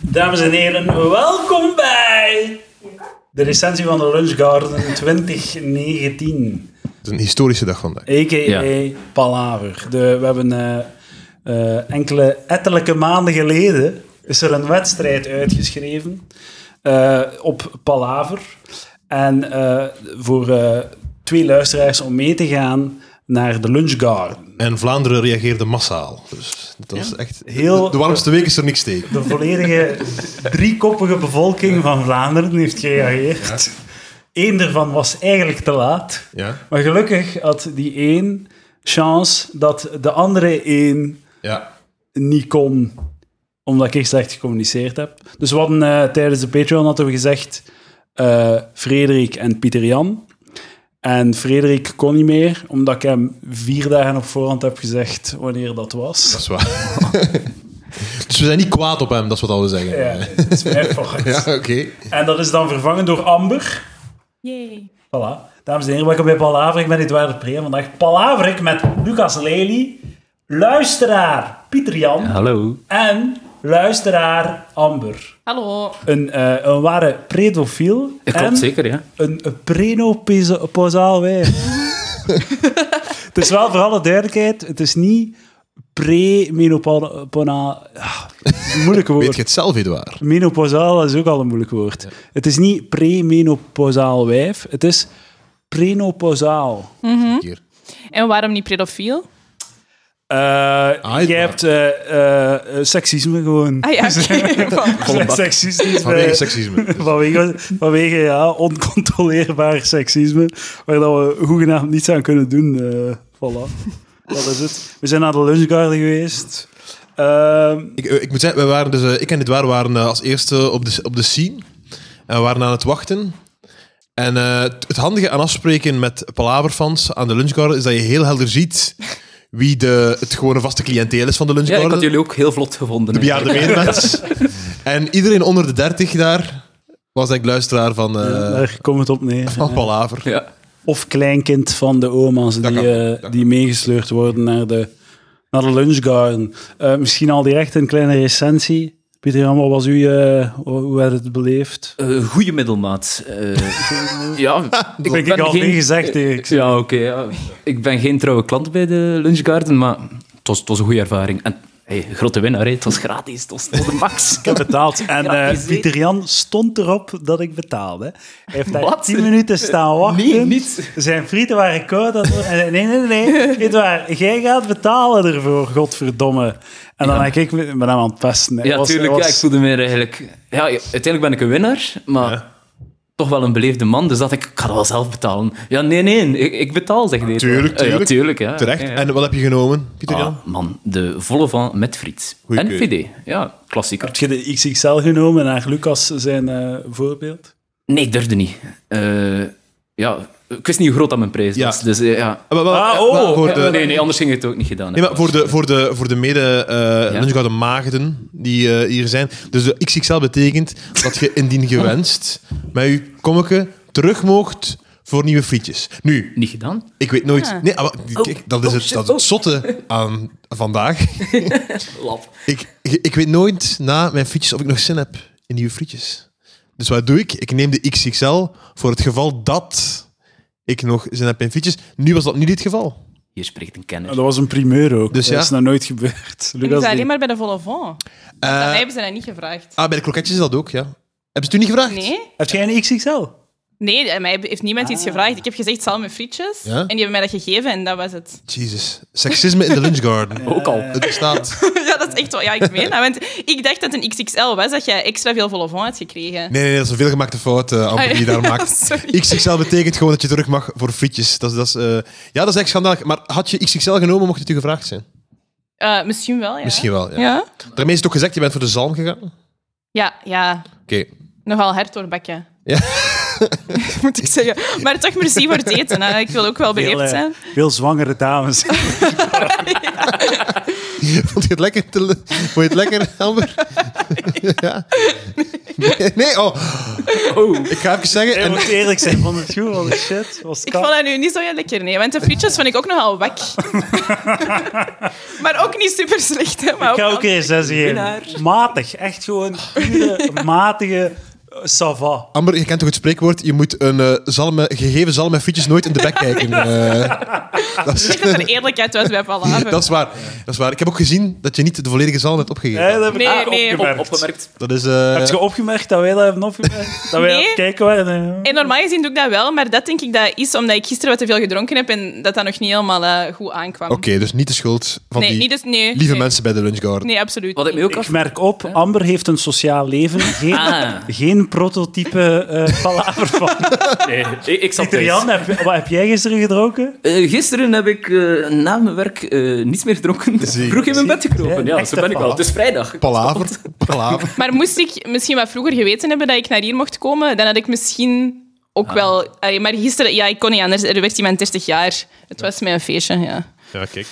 Dames en heren, welkom bij de recensie van de Lunch Garden 2019. Het is een historische dag vandaag. A.k.a. Ja. Palaver. De, we hebben eh, eh, enkele ettelijke maanden geleden is er een wedstrijd uitgeschreven eh, op Palaver. En eh, voor eh, twee luisteraars om mee te gaan naar de Lunch Garden. En Vlaanderen reageerde massaal. Dus dat is echt... Heel- de, de warmste week is er niks tegen. De volledige driekoppige bevolking van Vlaanderen heeft gereageerd. Eén daarvan was eigenlijk te laat. Ja, Maar gelukkig had die één chance dat de andere één ja. niet kon, omdat ik slecht gecommuniceerd heb. Dus we hadden eh, tijdens de Patreon hadden we gezegd eh, Frederik en Pieter Jan. En Frederik kon niet meer, omdat ik hem vier dagen op voorhand heb gezegd wanneer dat was. dat is waar. dus we zijn niet kwaad op hem, dat is wat al we zeggen. Ja, dat is mijn fout. Ja, oké. En dat is dan vervangen door Amber. Jee. Voilà. Dames en heren, welkom bij Palaver. Ik ben Edouard de Pre. en Vandaag Palaver ik met Lucas Lely, luisteraar Pieter Jan Hallo. en luisteraar Amber. Hallo. Een, eh, een ware predofiel Dat en Dus klopt zeker, ja. een prenoposaal wijf. het is wel voor alle duidelijkheid, het is niet pre-menopaal... Ah, moeilijke Weet je woord. het zelf, Edouard? Menopausaal is ook al een moeilijk woord. Het is niet pre-menopausaal wijf, het is prenopausaal. Mhm. Een keer. En waarom niet pedofiel? Eh, Uiteraard. jij hebt eh, eh, eh, seksisme gewoon. Ah ja, oké. Seksisme. Vanwege seksisme. Dus Vanwege, vanwege ja, oncontroleerbaar seksisme, waar dat we hoegenaamd niets aan kunnen doen. eh, voilà. Dat is het. We zijn naar de lunchgarden geweest. Ehm, ik, ik moet zeggen, we waren dus, eh, ik en Edouard waren eh, als eerste op de, op de scene. En we waren aan het wachten. En eh, het het handige aan afspreken met Palaverfans aan de lunchgarden is dat je heel helder ziet wie de, het gewone vaste cliënteel is van de Ja, ik lunchgarden. had jullie ook heel vlot gevonden. de bejaarde eigenlijk. medemens. en iedereen onder de 30 daar was ik luisteraar van, eh daar komt het op neer. van Palaver. Ja. Of kleinkind van de oma's die, kan, eh, dat kan. die meegesleurd worden naar de, naar de lunchgarden. Eh, misschien al direct een kleine recensie. Pieter Jan, wat was u, eh, hoe hoe werd het beleefd? Eh, goeie middelmaat. Eh, ja, ik Vind ik al geen gezegd, Erik. Ja, oké. ja. Ik ben geen trouwe klant bij de Lunch Garden, maar het was, het was een goede ervaring. En hey, grote winnaar, hè. het was gratis, het was, het was de max. Ik heb betaald. En eh, Gratis, hè? Pieter Jan stond erop dat ik betaalde. Hij heeft daar Wat? 10 minuten staan wachten. Nee, niet. Zijn frieten waren koud. Dat... en hij zei, nee, nee, nee. Edouard, jij gaat betalen ervoor, godverdomme. En dan heb ik me- met hem aan het pesten. Hij Ja, was- hij tuurlijk. Ja, was- ik voelde me eigenlijk... Ja, uiteindelijk ben ik een winnaar, maar toch wel een beleefde man. Dus dacht ik, ik ga dat wel zelf betalen. Ja, nee, nee, ik, ik betaal, zeg dit. Tuurlijk, Ja, tuurlijk. tuurlijk ja. Terecht. Ja, ja. En wat heb je genomen, Pieter Jan? Ah, man, de volle van met friet. Goeie en keuze. VD, ja, klassieker. Heb je de XXL genomen naar Lucas zijn eh, voorbeeld? Nee, ik durfde niet. Eh, ja, ik wist niet hoe groot dat mijn prijs Ja. was. Dus eh, ja. Ah, wel, wel, Ah, eh, oh. wel, voor de, nee, nee, anders ging ik het ook niet gedaan. Nee, maar voor de, voor de, voor de mede eh Ja. lunchgarden maagden die eh, hier zijn. Dus de XXL betekent dat je indien gewenst met je kommetje terug moogt voor nieuwe frietjes. Nu, Niet gedaan? ik weet nooit... Ah. Nee, ah, maar kijk, dat is het, dat is het zotte aan vandaag. Lap. Ik, ik, ik weet nooit na mijn frietjes of ik nog zin heb in nieuwe frietjes. Dus wat doe ik? Ik neem de XXL voor het geval dat ik nog zin heb in frietjes. Nu was dat niet het geval. Hier spreekt een Dat kenner. was een primeur ook. Dus dat ja. is nog nooit gebeurd. Ik was Lucas alleen maar bij de volle van. Eh, Dan hebben ze dat niet gevraagd. ah, bij de kroketjes is dat ook, ja. Hebben ze het u niet gevraagd? Nee? Heb jij een XXL? Nee, eh, mij heeft niemand iets gevraagd. Ik heb gezegd salm en frietjes. Ah. Ja? En die hebben mij dat gegeven en dat was het. Jezus. Seksisme in de lunchgarden. Ook al. Het bestaat. ja, dat is echt wel... Ja, ik weet dat. Want ik dacht dat het een XXL was, dat jij extra veel volle van had gekregen. Nee, nee, nee, dat is een veelgemaakte fout, eh Amber, Ah, ja. die je daar maakt. Sorry. XXL betekent gewoon dat je terug mag voor frietjes. Dat, is- dat is, eh, ja, dat is echt schandalig. Maar had je XXL genomen, mocht het u gevraagd zijn? Eh, misschien wel, ja. Misschien wel, ja. Ja? Daarmee is het ook gezegd, je bent voor de zalm gegaan. Oké. Ja, ja. Nogal hard doorbakken. Ja. Moet ik zeggen. Maar toch merci voor het eh, eten. Hè. Ik wil ook wel Veel, beleefd eh, zijn. veel zwangere dames. Vond je het lekker, te, vond je het lekker Amber? ja. Nee, nee, oh. Oh. Ik ga even zeggen... Ik en- moet eerlijk zijn, vond het goed, holy shit. Was Ik ka- vond dat nu niet zo heel lekker, nee. Want de frietjes vond ik ook nogal wak. maar ook niet super slecht, hè. Maar Ik ga ook wel- een zes Winnaar. geven. Matig, echt gewoon pure, matige eh, sava. Amber, je kent toch het spreekwoord, je moet een eh, zalm, gegeven zalm met frietjes nooit in de bek kijken. Eh, dat, is, Ik denk dat er eerlijkheid was bij Palaver. dat, is waar, dat is waar. Ik heb ook gezien dat je niet de volledige zalm hebt opgegeven. Ja, dat heb ik Nee, ook nee. opgemerkt. opgemerkt. Dat is... eh, Heb je opgemerkt dat wij dat hebben opgemerkt? Dat wij Nee. aan het kijken waren? eh? En normaal gezien doe ik dat wel, maar dat denk ik dat is omdat ik gisteren wat te veel gedronken heb en dat dat nog niet helemaal eh, goed aankwam. Oké, dus niet de schuld van nee, die niet dus, nee, lieve nee. mensen bij de Lunch Garden. Nee, absoluut Wat ik niet. me ook af... Ik merk op, Amber heeft een sociaal leven. Geen, Ah. geen prototype eh palaver van. Nee, ik, ik Pieter zat thuis. Jan, heb, wat heb jij gisteren gedronken? Eh, gisteren heb ik eh, na mijn werk eh, niets meer gedronken. Zie. Vroeg in mijn bed Zie. gekropen. Ja, Echte zo ben ik wel. palaver. Het is vrijdag. Palaver, palaver. Maar moest ik misschien wat vroeger geweten hebben dat ik naar hier mocht komen, dan had ik misschien ook wel... Allee, maar gisteren, ja, ik kon niet anders. Er werd iemand 30 jaar. Het was mijn feestje, ja. Ja, kijk.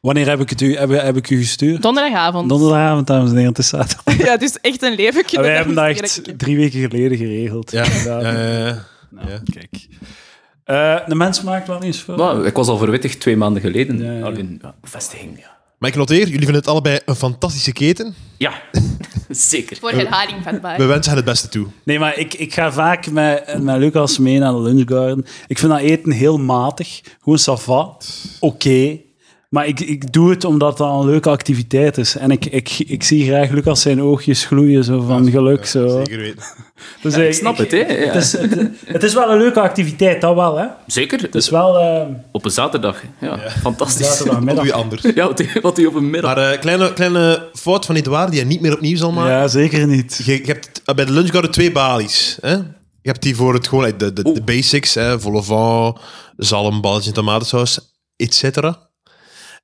Wanneer heb ik, het u, heb, heb ik u gestuurd? Donderdagavond. Donderdagavond, dames en heren, het is zaterdag. ja, dus echt een leventje. En Ah, wij hebben dat moest ik echt eigenlijk- drie weken geleden geregeld. Ja, Inderdaad. ja, ja, ja. Nou, ja. kijk. Eh, de mens maakt wel eens voor. Maar ik was al verwittigd twee maanden geleden. Ja, ja. Alleen, ja, vestiging, ja. Maar ik noteer, jullie vinden het allebei een fantastische keten. Ja, zeker. Voor herhaling vatbaar. We wensen hen het beste toe. Nee, maar ik, ik ga vaak met, met Lucas mee naar de lunchgarden. Ik vind dat eten heel matig. Gewoon sava. Oké. Maar ik, ik doe het omdat dat een leuke activiteit is. En ik, ik, ik zie graag Lucas zijn oogjes gloeien zo van geluk. Zo. Zeker weten. Dus Ik snap het, hè. Ja. Het is, het, het is wel een leuke activiteit, dat wel. Hè? Het Zeker, het is is wel eh, op een zaterdag. hè. Dus- Ja, fantastisch. Wat doe je zaterdagmiddag. anders? Ja, wat die- wat hij op een middag... Maar eh, kleine, kleine fout van Edouard die je niet meer opnieuw zal maken. Ja, zeker niet. Je, je hebt t- bij de Lunch Garden twee balies. Hè? Je hebt die voor het gewoon, like, de, de, de Oeh. basics, hè, vol au vent, zalm, balletje, tomatensaus, et cetera.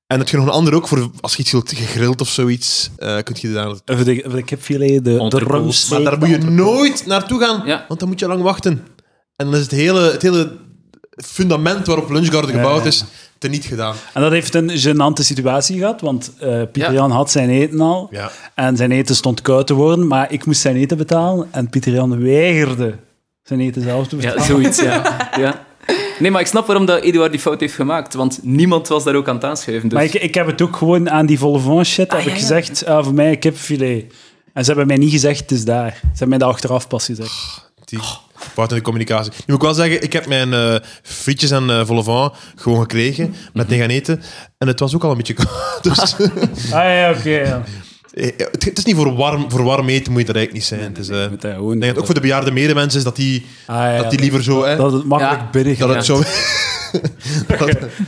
En heb je nog een ander ook voor als je iets wilt gegrild of zoiets, eh kun je daar Even de, even de kipfilet, de, de Entrecote. rumsteak. Maar daar moet je nooit naartoe gaan, Ja. want dan moet je lang wachten. En dan is het hele, het hele fundament waarop Lunchgarden gebouwd ja. is, teniet gedaan. En dat heeft een gênante situatie gehad, want eh, Pieter Ja. Jan had zijn eten al. Ja. En zijn eten stond koud te worden, maar ik moest zijn eten betalen. En Pieter Jan weigerde zijn eten zelf te Ja, betalen. zoiets, ja. ja. Nee, maar ik snap waarom dat Eduard die fout heeft gemaakt, want niemand was daar ook aan het aanschuiven. Dus... Maar ik, ik heb het ook gewoon aan die volvant shit heb ja, ik ja. gezegd, ah, voor mij een kipfilet. En ze hebben mij niet gezegd, het is daar. Ze hebben mij dat achteraf pas gezegd. Die fout in de communicatie. Nu moet ik wel zeggen, ik heb mijn eh frietjes en eh vol au vent gewoon gekregen, met mee gaan eten. En het was ook al een beetje koud. Dus, Mhm. Ah ja, oké. ja. eh, het, het is niet voor warm, voor warm eten, moet je er eigenlijk niet zijn. Het is, eh, Moet ik dat gewoon- denk dat ook voor de bejaarde medemensen is dat die, Ah, ja, dat die liever zo... hè, dat het makkelijk Ja. binnen dat gaat. het zo...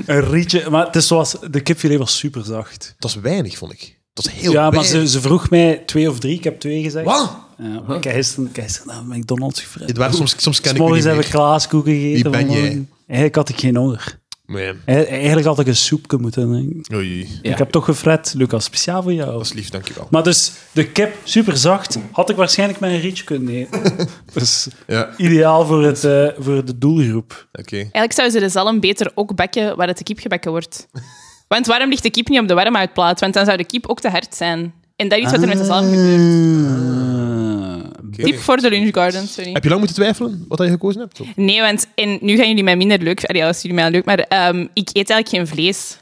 Een rietje, maar het is zoals, de kipfilet was super zacht. Dat is weinig, vond ik. Dat is heel ja, maar weinig. ze, ze vroeg mij twee of drie, ik heb twee gezegd. Wat? Ja, maar ik heb gisteren, ik heb gisteren naar McDonald's Dit gevraagd. waren soms, soms ken ik u niet Morgens heb ik meer. klaaskoeken gegeten. Wie ben vanmorgen. jij? Eigenlijk had ik geen honger. Nee. Eigen- Eigenlijk had ik een soepje moeten drinken. Oei, Ja. Ik heb toch gefret, Lucas, speciaal voor jou. dat is lief, dankjewel. Maar dus, de kip, super zacht, had ik waarschijnlijk mijn rietje kunnen eten. dus Ja, ideaal voor, het, eh, voor de doelgroep. oké. Eigenlijk zouden ze de zalm beter ook bakken waar het de kip gebakken wordt. Want waarom ligt de kip niet op de warmhoutplaat? Want dan zou de kip ook te hard zijn. En dat is wat er met de zalm gebeurt. Ah. Tip voor de lunchgarden, sorry. Heb je lang moeten twijfelen wat je gekozen hebt? Of? Nee, want en nu gaan jullie mij minder leuk... Allee, ja, dat is jullie mij leuk, maar ehm, ik eet eigenlijk geen vlees.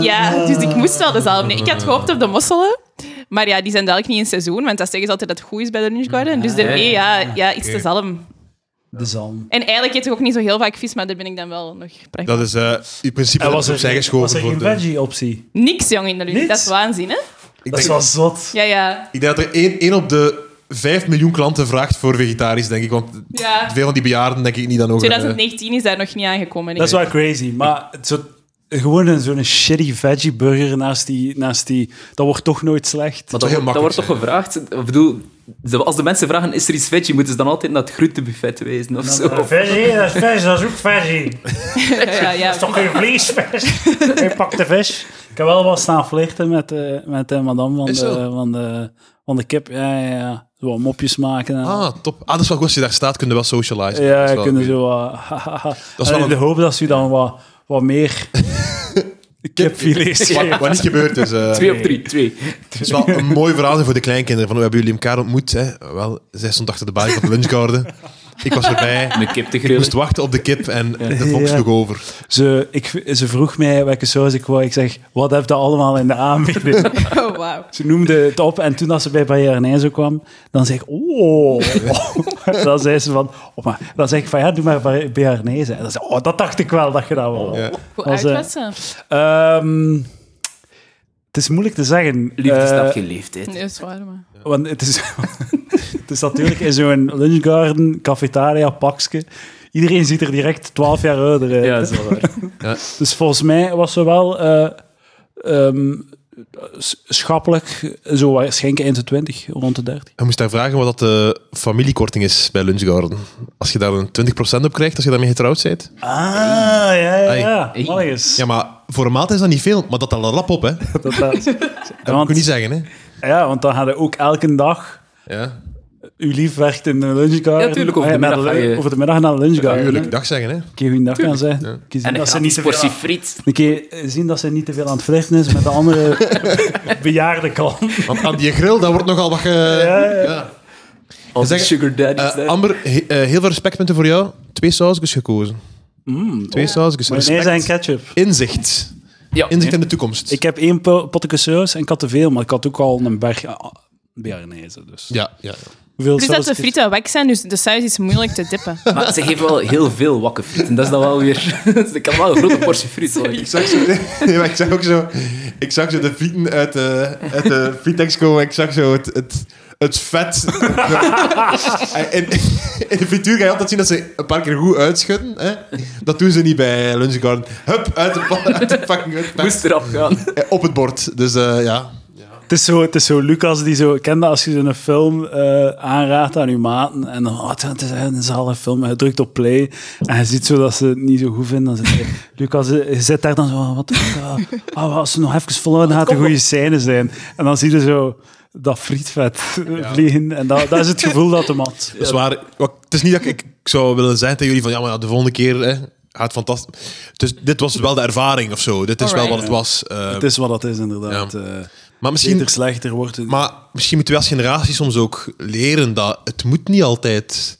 Ja, dus ik moest wel de zalm nemen. Ik had gehoopt op de mosselen. Maar ja, die zijn dadelijk niet in seizoen, want dat zeggen ze altijd dat het goed is bij de lunchgarden. Dus daarmee, ja, ja iets te zalm. De zalm. En eigenlijk eet ik ook niet zo heel vaak vis, maar daar ben ik dan wel nog prachtig. Dat is eh in principe En was op zij er, was geschoven. eh. er voor geen de- veggie-optie? Niks jong in de lunch, Niks? dat is waanzin, hè? ik, Dat is denk, wel zot. Ja, ja. ik denk dat er één, één op de vijf miljoen klanten vraagt voor vegetarisch, denk ik. Want ja. veel van die bejaarden denk ik niet dan eh, ook. 2019 is daar nog niet aangekomen. eh, Dat is wel crazy, maar het zo, gewoon een- zo'n shitty veggie burger naast die, naast die... Dat wordt toch nooit slecht. Dat Maar dat, is wordt- dat heel wordt toch gevraagd? Ik bedoel, ze- als de mensen vragen, is er iets veggie, moeten ze dus dan altijd naar het groentebuffet wezen of zo? Veggie, dat is veggie, dat is ook veggie. ja, ja. Dat is toch geen vleesvis? Hij pakt de vis. Ik heb wel wat staan flirten met, eh, met de madame van de, Is zo? van, de, van de kip. Ja, ja, ja. Zo wat mopjes maken. En, Ah, top. Ah, dat is wel goed. Als je daar staat, kun je wel socializen. ja, Dat is wel- kunnen zo wat... hahaha. wel En in een- de hoop dat ze u dan wat, wat meer Kipfilets. Wat, wat niet gebeurd is. eh, Twee op drie, twee. het is wel een mooi verhaal voor de kleinkinderen. Van, hoe hebben jullie elkaar ontmoet? Hè? Wel, zij stond achter de balie van de lunchgarden. Ik was erbij. Een kip te Ik moest grillen. wachten op de kip en de fox Ja. sloeg over. Ze, ik, ze vroeg mij welke saus ik wou. Ik zeg, wat heb je allemaal in de aanbieding? Oh, wauw. ze noemde het op en toen als ze bij Bayern zo kwam, dan zeg ik, oh. dan zei ze van, oh, maar, dan zeg ik van, ja, doe maar Bayern En dan zei ze, oh, dat dacht ik wel dat je dat wou. Ja. Hoe Was, oud eh, was ze? Ehm, het is moeilijk te zeggen. Liefde Eh, snapt geen leeftijd. Nee, dat is waar, maar... Want het is, het is natuurlijk in zo'n lunchgarden, cafetaria, pakske. Iedereen ziet er direct 12 jaar ouder uit. Ja, dat is wel waar. Dus volgens mij was ze wel eh, ehm, s- schappelijk, zo waarschijnlijk eind de 20, rond de 30. Je moest daar vragen wat dat de familiekorting is bij Lunchgarden. Als je daar een 20% op krijgt, als je daarmee getrouwd bent. Ah, ja, ja, ja. Hey. Allee, eens. Ja, maar voor een maand is dat niet veel, maar dat dan een rap op, hè. Dat Dat- dat- moet je niet want, zeggen, hè. ja, want dan hadden ook elke dag... Ja, Uw lief werkt in de lunchgarden. Ja, tuurlijk, over Ah, de naar middag ga je- over de middag naar de lunchgarden. hè. tuurlijk. Dag zeggen, hè. Een keer goeiedag gaan zeggen. Een keer zien En een dat ze niet gratis te veel portie aan- friet. een keer eh, zien dat ze niet te veel aan het flirten is met de andere bejaarde klant. Want aan die grill, daar wordt nogal wat... ge- Ja. Als Zeg- sugar daddy's. Eh, hè. Amber, he- eh, heel veel respectpunten voor jou. Twee sausjes gekozen. Twee sausjes. Nee, Respect. zijn ketchup. Inzicht. ja, Inzicht in de toekomst. Ik heb één po- potje saus en ik had te veel, maar ik had ook al een berg ah, bearnaise. Dus. Ja, ja. Hoeveel Plus Dus dat saus de is- frieten wek zijn, dus de saus is moeilijk te dippen. Maar ze geven wel heel veel wakke friet. En dat is dan wel weer... Ze kan wel een grote portie friet. hoor. Ik zag, zo, nee, maar ik zag ook zo... Ik zag zo de frieten uit de, uit de frietex komen. Ik zag zo het, het, het vet. En- en- in de frituur ga je altijd zien dat ze een paar keer goed uitschudden. Hè? Dat doen ze niet bij Lunch Garden. Hup, uit de, pa- uit de fucking uit de Ik pa- moest eraf gaan. Eh, Op het bord. Dus eh, ja. Het is, zo, het is zo Lucas die zo kende als je zo'n film eh, aanraadt aan je maten. En dan, oh, het is een zalige film. En je drukt op play. En je ziet zo dat ze het niet zo goed vinden. Dan zit hij- Lucas eh, je zit daar dan zo. Wat, ah, ah, als ze nog even volhouden, gaat het een goede scène zijn. En dan zie je zo dat frietvet eh, vliegen. En dat, dat is het gevoel dat hem had. Dat is waar. Wat- Het is niet dat ik, ik zou willen zeggen tegen jullie van ja, maar ja, de volgende keer hè, gaat fantastisch. Dus dit was wel de ervaring of zo. Dit is wel wat het was. eh. Het is wat het is, inderdaad. Ja. Eh, maar, misschien, beter, slechter wordt het. maar misschien moeten we als generatie soms ook leren dat het moet niet altijd.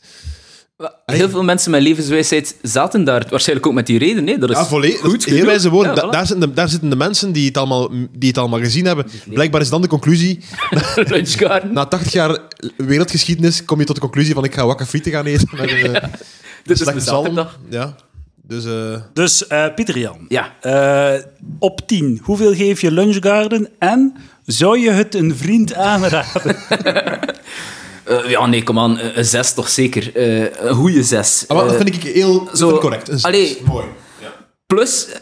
Heel veel mensen met levenswijsheid zaten daar. Waarschijnlijk ook met die reden. Nee, dat is Ja, volledig. goed Goed, heel wijze genoeg. woorden. Ja, Da- voilà. daar, zitten de, daar zitten de mensen die het, allemaal, die het allemaal gezien hebben. Blijkbaar is dan de conclusie. Lunchgarden. Na 80 jaar wereldgeschiedenis kom je tot de conclusie van ik ga wakker frieten gaan eten. Met een, eh, Dit dus is slechte mijn zalm. zaterdag. Ja. Dus eh, Dus eh, Pieter Jan, Ja. eh, op 10, hoeveel geef je Lunchgarden en zou je het een vriend aanraden? Eh, ja, nee, kom aan. Eh, Een zes toch zeker. Eh, een goede zes. ah, maar dat Eh, vind ik heel dat zo- vind ik correct. Een zes. Allee. Mooi. Ja. Plus, eh,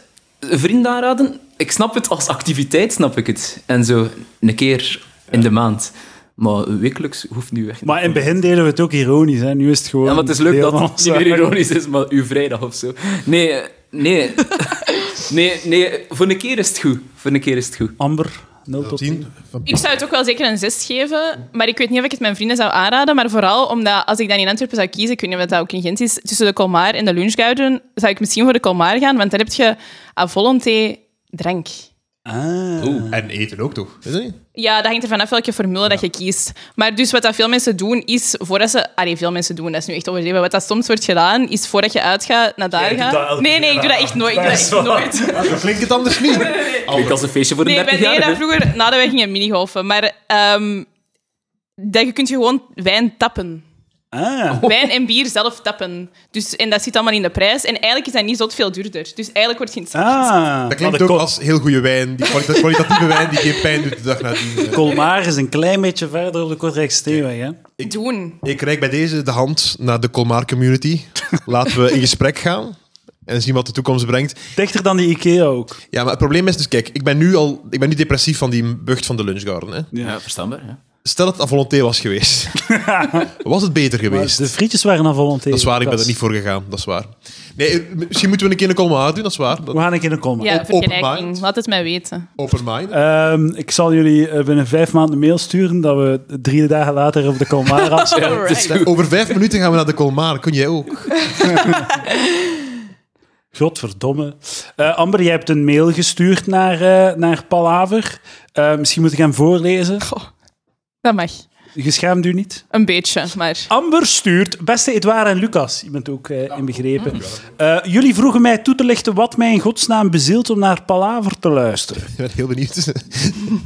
vrienden aanraden. Ik snap het als activiteit, snap ik het. En zo een keer in de maand. Maar wekelijks hoeft nu echt niet. maar in het begin deden we het ook ironisch, hè? nu is het gewoon... Ja, maar het is leuk deel dat van het ons niet meer werk. ironisch is, maar uw vrijdag of zo. Nee, eh, nee. nee, nee. Voor een keer is het goed. Voor een keer is het goed. Amber, 0 tot 10. Tien. Van- Ik zou het ook wel zeker een 6 geven, maar ik weet niet of ik het mijn vrienden zou aanraden. Maar vooral omdat als ik dan in Antwerpen zou kiezen, ik weet niet of dat ook in Gent is, tussen de Colmar en de Lunchgarden, zou ik misschien voor de Colmar gaan, want daar heb je à volonté drank. Ah. En eten ook toch? Is dat niet? Ja, dat hangt er vanaf welke formule dat je kiest. Maar dus wat dat veel mensen doen, is voordat ze... Allee, veel mensen doen, dat is nu echt overdreven. Wat dat soms wordt gedaan, is voordat je uitgaat, naar daar ik doe dat gaan. elke Nee, keer. nee, ik doe dat echt nooit. Ik doe dat Dat is echt waar. nooit. Klinkt het anders niet? Klinkt als een feestje voor de Nee, wij 30 deden jaar. dat vroeger nadat wij gingen minigolfen. Maar ehm dat je kunt je gewoon wijn tappen. Ah. Wijn en bier zelf tappen. Dus, en dat zit allemaal in de prijs. En eigenlijk is dat niet zo veel duurder. Dus eigenlijk wordt het geen Ah. Dat klinkt Maar de ook Col- als heel goede wijn. Die kwalita- kwalitatieve wijn die geen pijn doet de dag nadien. Colmar is een klein beetje verder op de Kortrijkse Steenweg, hè? doen. Ik reik bij deze de hand naar de Colmar community. Laten we in gesprek gaan en zien wat de toekomst brengt. Dichter dan die Ikea ook. Ja, maar het probleem is dus, kijk, ik ben nu al ik ben nu depressief van die bucht van de lunchgarden. Hè. Ja, verstaanbaar. Ja. Stel dat het aan volonté was geweest. Was het beter geweest? De frietjes waren aan volonté. Dat is waar, ik ben er niet voor gegaan. Dat is waar. Nee, eh, misschien moeten we een keer een Colmar doen, dat is waar. Dat- We gaan een keer naar Colmar. Ja, Op- open vergelijking. mind. Laat het mij weten. Open mind. Ehm, ik zal jullie eh, binnen vijf maanden een mail sturen dat we drie dagen later op de Colmar afspreken. Het is Alright. goed. Over vijf minuten gaan we naar de Colmar. Kun jij ook? Godverdomme. Eh, Amber, jij hebt een mail gestuurd naar, eh, naar Palaver. Eh, misschien moet ik hem voorlezen. Dat mag. Geschaamt u niet? Een beetje, maar... Amber stuurt, beste Edouard en Lucas, je bent ook eh, inbegrepen. Eh, jullie vroegen mij toe te lichten wat mij in godsnaam bezielt om naar Palaver te luisteren. Ik ben heel benieuwd.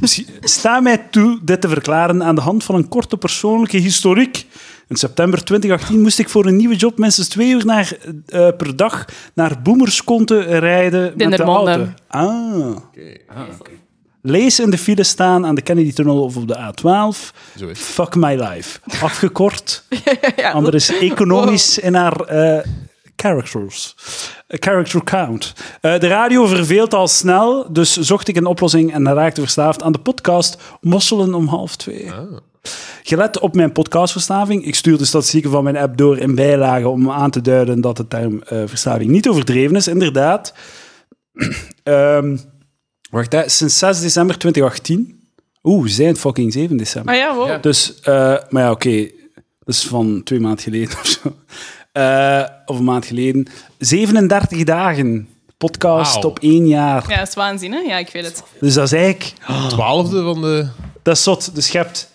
Misschien- Sta mij toe dit te verklaren aan de hand van een korte persoonlijke historiek. In september 2018 moest ik voor een nieuwe job minstens twee uur naar, eh, per dag naar Boemerskonte rijden met de Dendermonde. auto. Ah. Lees in de file staan aan de Kennedy-tunnel of op de A12. Zo is. Fuck my life. Afgekort. Ja, Ander is economisch in haar eh, characters. Eh, character count. Eh, de radio verveelt al snel, dus zocht ik een oplossing en raakte verslaafd aan de podcast Mosselen om half twee. Gelet op mijn podcastverstaving, ik stuur de statistieken van mijn app door in bijlagen om aan te duiden dat de term eh, verslaving niet overdreven is. Inderdaad. Ehm, wacht, hè. sinds 6 december 2018. Oeh, zijn fucking 7 december. Maar Ah ja, wow. Dus, eh, maar ja, oké. Dat is van twee maanden geleden of zo. Eh, of een maand geleden. 37 dagen podcast Wauw. op één jaar. Ja, dat is waanzinnig. ne? Ja, ik weet het. Dus dat is eigenlijk... Twaalfde van de... Dat is zot. Dus je hebt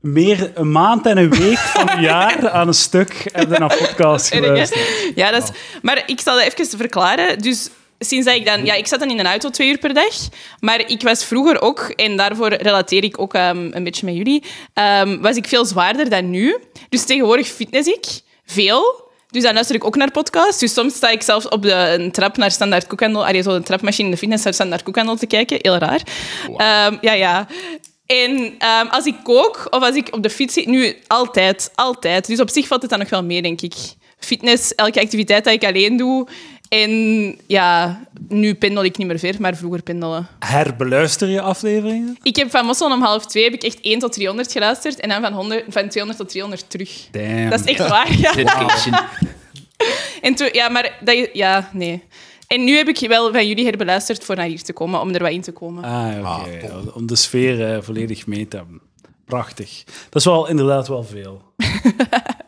meer een maand en een week van een jaar aan een stuk heb je naar podcast Erg, hè? geluisterd. eh, Ja, dat is... Maar ik zal dat even verklaren. Dus sinds dat ik dan... Ja, ik zat dan in een auto twee uur per dag. Maar ik was vroeger ook, en daarvoor relateer ik ook ehm, een beetje met jullie, ehm, was ik veel zwaarder dan nu. Dus tegenwoordig fitness ik veel. Dus dan luister ik ook naar podcasts. Dus soms sta ik zelfs op de een trap naar Standaard Koekhandel. Allee, zo een trapmachine in de fitness naar Standaard Koekhandel te kijken. Heel raar. Ehm, ja, ja. En ehm, als ik kook of als ik op de fiets zit, nu altijd, altijd. Dus op zich valt het dan nog wel mee, denk ik. Fitness, elke activiteit dat ik alleen doe. En ja, nu pendel ik niet meer ver, maar vroeger pendelen. Herbeluister je afleveringen? Ik heb van Mossel om half twee heb ik echt 1 tot 300 geluisterd. En dan van, 100, van 200 tot 300 terug. Damn. Dat is echt waar, ja. Dedication. En toen, ja, maar dat, je- ja, nee. En nu heb ik wel van jullie herbeluisterd voor naar hier te komen, om er wat in te komen. Ah, oké. Om de sfeer eh, volledig mee te hebben. Prachtig. Dat is wel inderdaad wel veel.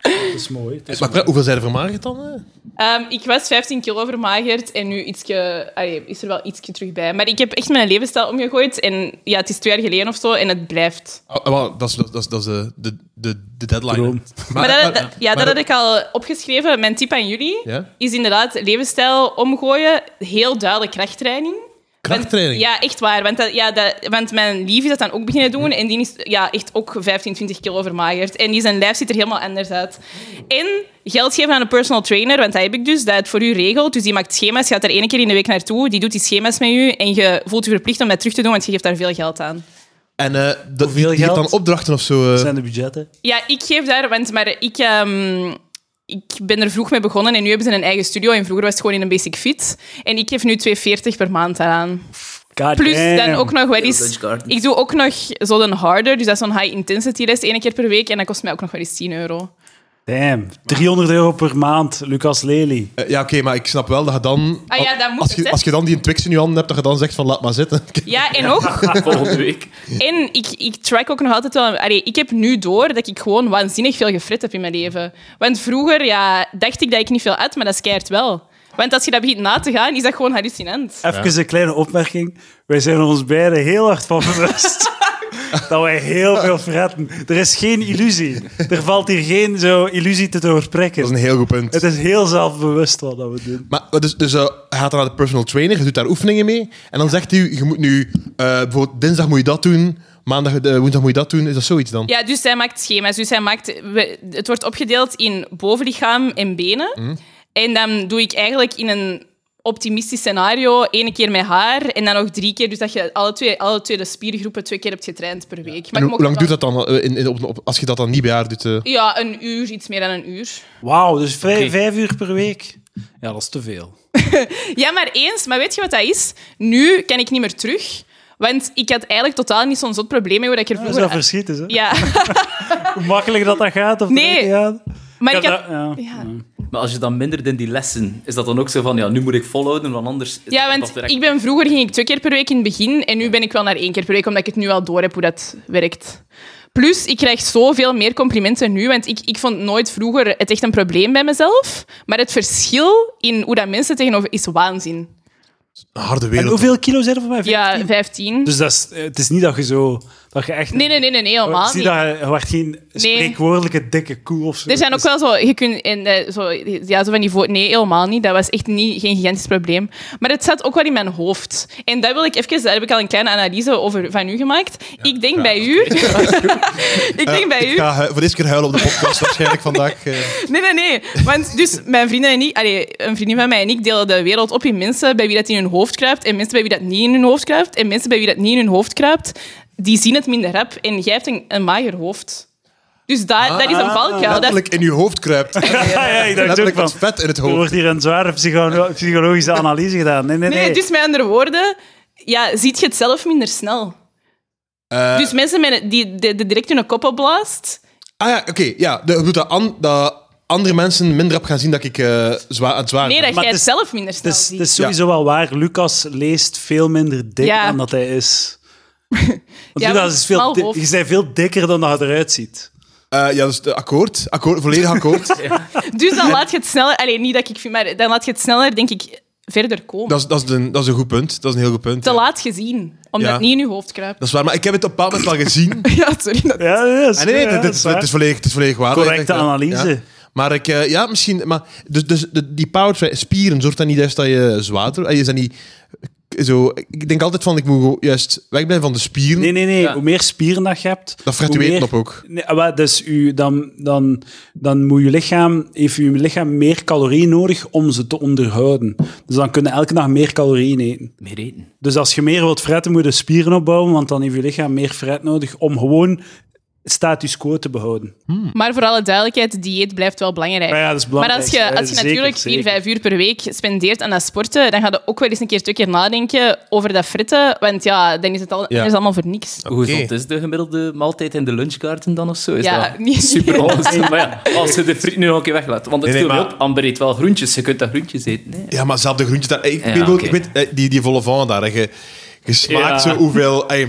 dat is mooi. Het is Maar pra- hoeveel zijn er vermagerd dan? hè? Ehm, ik was 15 kilo vermagerd en nu ietsje, allee, is er wel ietsje terug bij. Maar ik heb echt mijn levensstijl omgegooid. En ja, het is twee jaar geleden of zo en het blijft. Oh, eh, wel, dat is, dat is, dat is de, de, de, de deadline. Droom. Maar, dat, maar- dat- ja, dat maar- had ik al opgeschreven. Mijn tip aan jullie Ja? is inderdaad levensstijl omgooien. Heel duidelijk krachttraining. Krachttraining. Ja, echt waar. Want, dat, ja, dat, want mijn lief is dat dan ook beginnen doen. En die is ja, echt ook 15, 20 kilo vermagerd. En die zijn lijf ziet er helemaal anders uit. En geld geven aan een personal trainer, want dat heb ik dus, dat het voor u regelt. Dus die maakt schema's, je gaat er één keer in de week naartoe. Die doet die schema's met u. En je voelt je verplicht om dat terug te doen, want je geeft daar veel geld aan. En eh dat, die- Hoeveel die heeft geld? dan opdrachten of zo. eh, zijn de budgetten. Ja, ik geef daar, want maar ik, ehm, ik ben er vroeg mee begonnen. En nu hebben ze een eigen studio. En vroeger was het gewoon in een basic fit. En ik geef nu 2,40 per maand daaraan. God Plus dan damn. ook nog wel eens... Dutch Gardens. Ik doe ook nog zo'n harder, dus dat is zo'n high-intensity les, één keer per week. En dat kost mij ook nog wel eens 10 euro. Damn, 300 euro per maand, Lucas Lely. eh, ja, oké, maar ik snap wel dat je dan. Ah ja, dat moet als, het, je, hè. als je dan die Twix in je handen hebt, dat je dan zegt van laat maar zitten. Ja, en ook... Volgende week. En ik, ik track ook nog altijd wel... Allee, ik heb nu door dat ik gewoon waanzinnig veel gefrit heb in mijn leven. Want vroeger ja, dacht ik dat ik niet veel at, maar dat is keihard wel. Want als je dat begint na te gaan, is dat gewoon hallucinant. Even een kleine opmerking. Wij zijn er ons beiden heel hard van bewust dat wij heel veel fretten. Er is geen illusie. Er valt hier geen zo illusie te doorprikken. Dat is een heel goed punt. Het is heel zelfbewust wat dat we doen. Maar dus, dus eh, hij gaat dan naar de personal trainer, je doet daar oefeningen mee. En dan zegt hij, je moet nu, eh, bijvoorbeeld dinsdag moet je dat doen, maandag, eh, woensdag moet je dat doen. Is dat zoiets dan? Ja, dus zij maakt schema's. Dus zij maakt, we- het wordt opgedeeld in bovenlichaam en benen. Mhm. En dan doe ik eigenlijk in een optimistisch scenario één keer met haar en dan nog drie keer. Dus dat je alle twee, alle twee de spiergroepen twee keer hebt getraind per week. Maar En ik hoe, hoe mocht lang wel- duurt dat dan eh, in, in, op, op- als je dat dan niet bij haar doet? eh? Ja, een uur, iets meer dan een uur. Wauw, dus vijf, Oké. vijf uur per week. Ja, dat is te veel. Ja, maar eens. Maar weet je wat dat is? Nu kan ik niet meer terug. Want ik had eigenlijk totaal niet zo'n zot probleem mee hoe dat ik er Dat is wel vroeger... verschieten, hè? Ja, Hoe makkelijk dat dat gaat. Of Nee. dat niet gaat. maar ik Ja, had... dat- ja. Ja. Maar als je dan minder in die lessen, is dat dan ook zo van, ja, nu moet ik volhouden, want anders... is Ja, dat want direct- ik ben, vroeger ging ik twee keer per week in het begin en nu ben ik wel naar één keer per week, omdat ik het nu al door heb hoe dat werkt. Plus, ik krijg zoveel meer complimenten nu, want ik, ik vond nooit vroeger het echt een probleem bij mezelf. Maar het verschil in hoe dat mensen tegenover is waanzin. Een harde En wereld. hoeveel kilo zijn er voor mij? Ja, 15. Dus dat is, eh, het is niet dat je zo... Dat je echt... Nee, nee, nee, nee, nee helemaal Oh, zie niet. dat je, je werd geen spreekwoordelijke dikke koe of zo. Er zijn ook Het is- wel zo, je kunt in, eh, zo, ja, zo van die vo- Nee, helemaal niet. Dat was echt niet, geen gigantisch probleem. Maar het zat ook wel in mijn hoofd. En dat wil ik even, daar heb ik al een kleine analyse over van u gemaakt. ik denk bij u. ik denk bij Eh, ik u. ga hu- voor deze keer huilen op de podcast waarschijnlijk vandaag. eh. Nee, nee, nee. Want dus mijn vrienden en ik, allee, een vriendin van mij en ik delen de wereld op in mensen bij wie dat in hun hoofd kruipt en mensen bij wie dat niet in hun hoofd kruipt en mensen bij wie dat niet in hun hoofd kruipt, die zien het minder rap en jij hebt een, een mager hoofd. Dus daar, dat is een valkuil. Dat Ah, letterlijk in uw hoofd kruipt. Ja, ja, ik dacht ook letterlijk van... wat vet in het Er hoofd. wordt hier een zware psycho- psychologische analyse gedaan. Nee, nee, nee. Nee, dus met andere woorden, ja, ziet je het zelf minder snel. Eh, dus mensen met, een- die de, de direct hun kop opblaast, Ah ja, oké. ja, de- bedoel dat, an- dat andere mensen minder op gaan zien dat ik eh zwaar, aan het zwaar nee, ben. dat jij het het is- zelf minder snel Het is, ziet. het is sowieso wel waar. Lucas leest veel minder dik Ja. dan dat hij is. Want Ja, Lucas want is veel, smal di- hoofd. je bent veel dikker dan dat je eruit ziet. Eh, ja, dus de akkoord, akkoord, volledig akkoord. Dus dan laat je het sneller, alleen niet dat ik vind, maar dan laat je het sneller, denk ik, verder komen. dat, is, dat, is een, dat is een goed punt. Dat is een heel goed punt. Te ja. laat gezien, omdat Ja. het niet in je hoofd kruipt. Dat is waar, maar ik heb het op een bepaald moment wel gezien. Ja, sorry. dat- Ja, nee, dat is- Ah, nee, nee, ja, dit- dat dit is is- waar. het is volledig, het is volledig waar. Correcte Ja. analyse. Ja. Maar ik, eh, ja, misschien... Maar, dus dus de, die power spieren zorgt dan niet juist dat je zwaarder... eh, Je zijn niet zo... Ik denk altijd van, ik moet gewoon juist wegblijven van de spieren. Nee, nee, nee. Ja. Hoe meer spieren dat je hebt... Dat hoe fratueert meer- op ook. Nee, ah, wel, dus u, dan, dan, dan moet je lichaam, heeft je lichaam meer calorieën nodig om ze te onderhouden. Dus dan kunnen elke dag meer calorieën eten. Meer eten. Dus als je meer wilt fretten, moet je spieren opbouwen, want dan heeft je lichaam meer fret nodig om gewoon status quo te behouden. Maar voor alle duidelijkheid, dieet blijft wel belangrijk. Maar ja, dat is Maar belangrijk. als je, Eh, als je zeker, natuurlijk vier, zeker. vijf uur per week spendeert aan dat sporten, dan ga je ook wel eens een keer twee keer nadenken over dat fritten, want ja, dan is het al, dan is het allemaal voor niks. Hoe gezond is de gemiddelde maaltijd in de lunchkaarten dan of zo? Is Ja, dat niet- super ongezond? Maar ja, als je de friet nu nog een keer weglaat. Want het Nee, viel nee, me maar- op, Amber eet wel groentjes. Je kunt dat groentjes eten. Nee. Ja, maar zelf de groentjes daar. Ik, Ja, weet, wel- oké. ik weet eh, die, die volle van daar. hè. Je, je smaakt Ja. zo hoeveel, eh,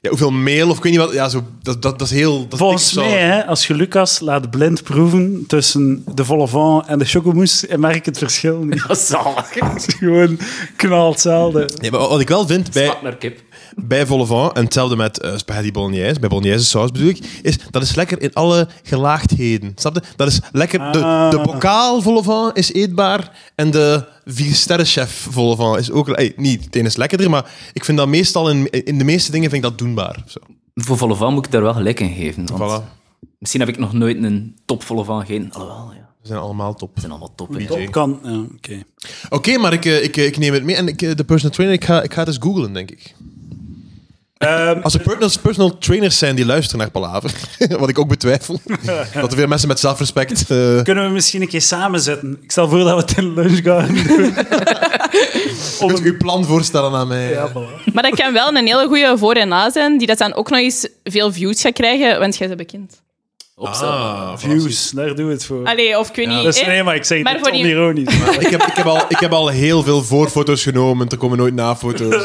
ja, hoeveel meel of ik weet niet wat. Ja, zo, dat, dat, dat is heel. Dat is Volgens dik zout. mij, hè, als je Lucas laat blind proeven tussen de volle van en de chocomousse, en merk je het verschil niet. Dat is zalig. Het is gewoon knal hetzelfde. Nee, maar wat ik wel vind bij, Smaakt naar kip. bij volle van, en hetzelfde met eh, spaghetti bolognese, bij bolognese saus bedoel ik, is dat is lekker in alle gelaagdheden. Snap je? Dat is lekker. De, Ah. de bokaal volle van is eetbaar en de vier sterrenchef volle van is ook. eh, niet, het een is lekkerder, maar ik vind dat meestal in, in de meeste dingen vind ik dat doenbaar. Zo. Voor volle van moet ik daar wel gelijk in geven. Want Voilà. Misschien heb ik nog nooit een top volle van gegeten. Alhoewel, ja. We zijn allemaal top. Het zijn allemaal top. hè. Top. Kan, ja, oké. Oké, maar ik, eh, ik, eh, ik neem het mee. En ik, eh, de personal trainer, ik ga, ik ga het eens googlen, denk ik. Ehm, Als er personal, personal trainers zijn die luisteren naar Palaver, wat ik ook betwijfel, dat er veel mensen met zelfrespect... eh, kunnen we misschien een keer samen zitten? Ik stel voor dat we het in lunch gaan doen. Om kunt een- u uw plan voorstellen aan mij? Ja, voilà. Maar dat kan wel een hele goede voor- en na zijn, die dat dan ook nog eens veel views gaat krijgen, want jij bent bekend. Opstel. Ah, voilà. Views, daar doen we het voor. Allee, of ik weet niet... Dus hè? nee, maar ik zeg Maar het voor die- onironisch. maar- Ik heb, ik, heb al, ik heb al heel veel voorfoto's genomen, er komen nooit nafoto's.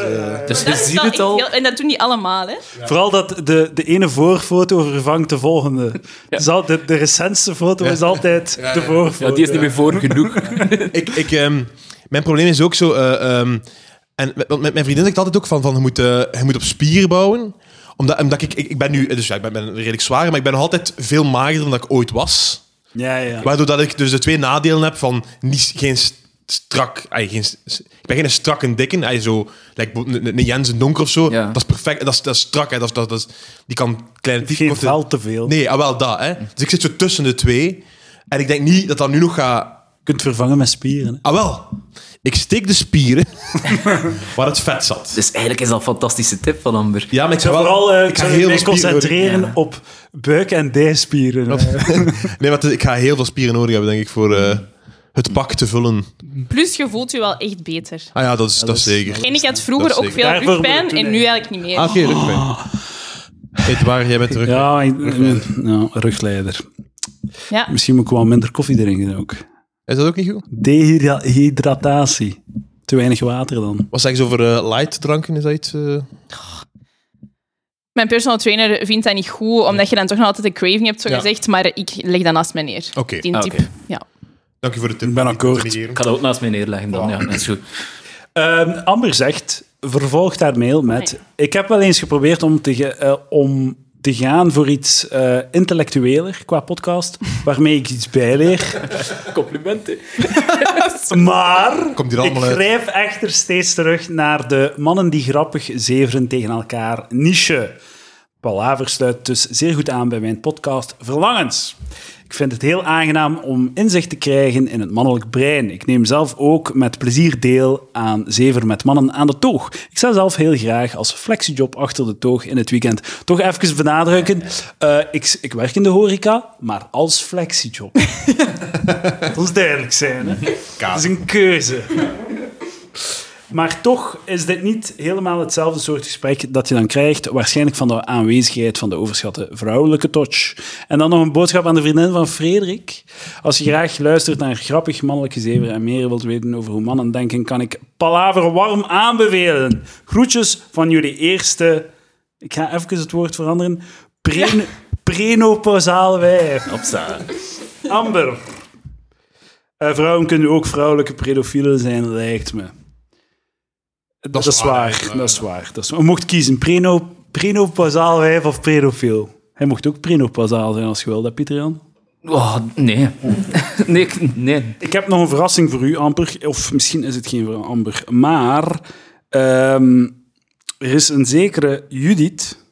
eh. Dus je Dat is ziet wel het echt al. heel- en dat doen die allemaal, hè. Vooral dat de, de ene voorfoto vervangt de volgende. Dus al- de, de recentste foto is altijd de voorfoto. Ja, die is niet meer voor genoeg. ik, ik, ehm, mijn probleem is ook zo. eh, ehm, en met, want met mijn vriendin zegt altijd ook van, van je, moet, eh, je moet op spier bouwen. Omdat, omdat ik, ik, ik ben nu, eh, dus ja, ik ben, ben redelijk zwaar, maar ik ben nog altijd veel magerder dan ik ooit was. Ja, ja. Waardoor dat ik dus de twee nadelen heb van niet, geen st- strak... ai, geen, s- s- ik ben geen strak en dikke. ai, zo, like, een, een Jens en Donker of zo. Ja. Dat is perfect. Dat is, dat is strak. Hè, dat is, dat, dat is, die kan kleine Geen korte- vel te veel. Nee, ah, wel dat. Hè. Dus ik zit zo tussen de twee. En ik denk niet dat dat nu nog gaat... Je kunt vervangen met spieren. hè. Ah wel, ik steek de spieren waar het vet zat. Dus eigenlijk is dat een fantastische tip van Amber. Ja, maar ik Ik ga zou wel... vooral eh, ik ik ga zou heel mij veel spieren nodig. concentreren Ja. op buik- en dijspieren. Eh, Nee, want ik ga heel veel spieren nodig hebben, denk ik, voor eh, het pak te vullen. Plus, je voelt je wel echt beter. Ah ja, dat is, dat is zeker. En ik had vroeger Dat is ook veel zeker. Daarvoor moet rugpijn ik en doen, nu hè. eigenlijk niet meer. Ah, oké, rugpijn. Edouard, jij bent terug. ja, ik- ja, rugleider. Ja. Misschien moet ik wel minder koffie drinken ook. Is dat ook niet goed? Dehydratatie. Te weinig water dan. Wat zeggen ze over eh, light dranken? Is dat iets? eh? Mijn personal trainer vindt dat niet goed, omdat je dan toch nog altijd een craving hebt, zo Ja. gezegd. Maar ik leg dat naast mij neer. Oké. Die Ah, tip. oké. Ja. Dank je voor de tip. Ik ben akkoord. Niet te negeren. Ik ga dat ook naast mij neerleggen dan. Ja, dat is goed. Ehm, Amber zegt, vervolgt haar mail met... Nee. Ik heb wel eens geprobeerd om te, ge- eh, om te gaan voor iets eh, intellectueler qua podcast, waarmee ik iets bijleer. Complimenten. maar Komt hier ik allemaal uit. grijp echter steeds terug naar de mannen die grappig zeveren tegen elkaar niche. Palaver sluit dus zeer goed aan bij mijn podcast Verlangens. Ik vind het heel aangenaam om inzicht te krijgen in het mannelijk brein. Ik neem zelf ook met plezier deel aan Zever met Mannen aan de Toog. Ik zou zelf heel graag als flexiejob achter de toog in het weekend toch even benadrukken. eh, ik, ik werk in de horeca, maar als flexiejob. Dat moet duidelijk zijn, hè? Dat is een keuze. Maar toch is dit niet helemaal hetzelfde soort gesprek dat je dan krijgt, waarschijnlijk van de aanwezigheid van de overschatte vrouwelijke touch. En dan nog een boodschap aan de vriendin van Frederik. Als je graag luistert naar grappig mannelijke zever en meer wilt weten over hoe mannen denken, kan ik Palaver warm aanbevelen. Groetjes van jullie eerste... Ik ga even het woord veranderen. Pre Prenopausale wijf. Opsa. Amber. Eh, vrouwen kunnen ook vrouwelijke pedofielen zijn, lijkt me. Dat, is waar. eh. dat is waar. Dat is waar. Je mocht kiezen, preno, prenopausaal wijf of pedofiel. Hij mocht ook prenopausaal zijn als je wil, dat Pieter Jan. Oh, nee. nee. ik- Nee. Ik heb nog een verrassing voor u, Amber. Of misschien is het geen voor Amber. Maar ehm, er is een zekere Judith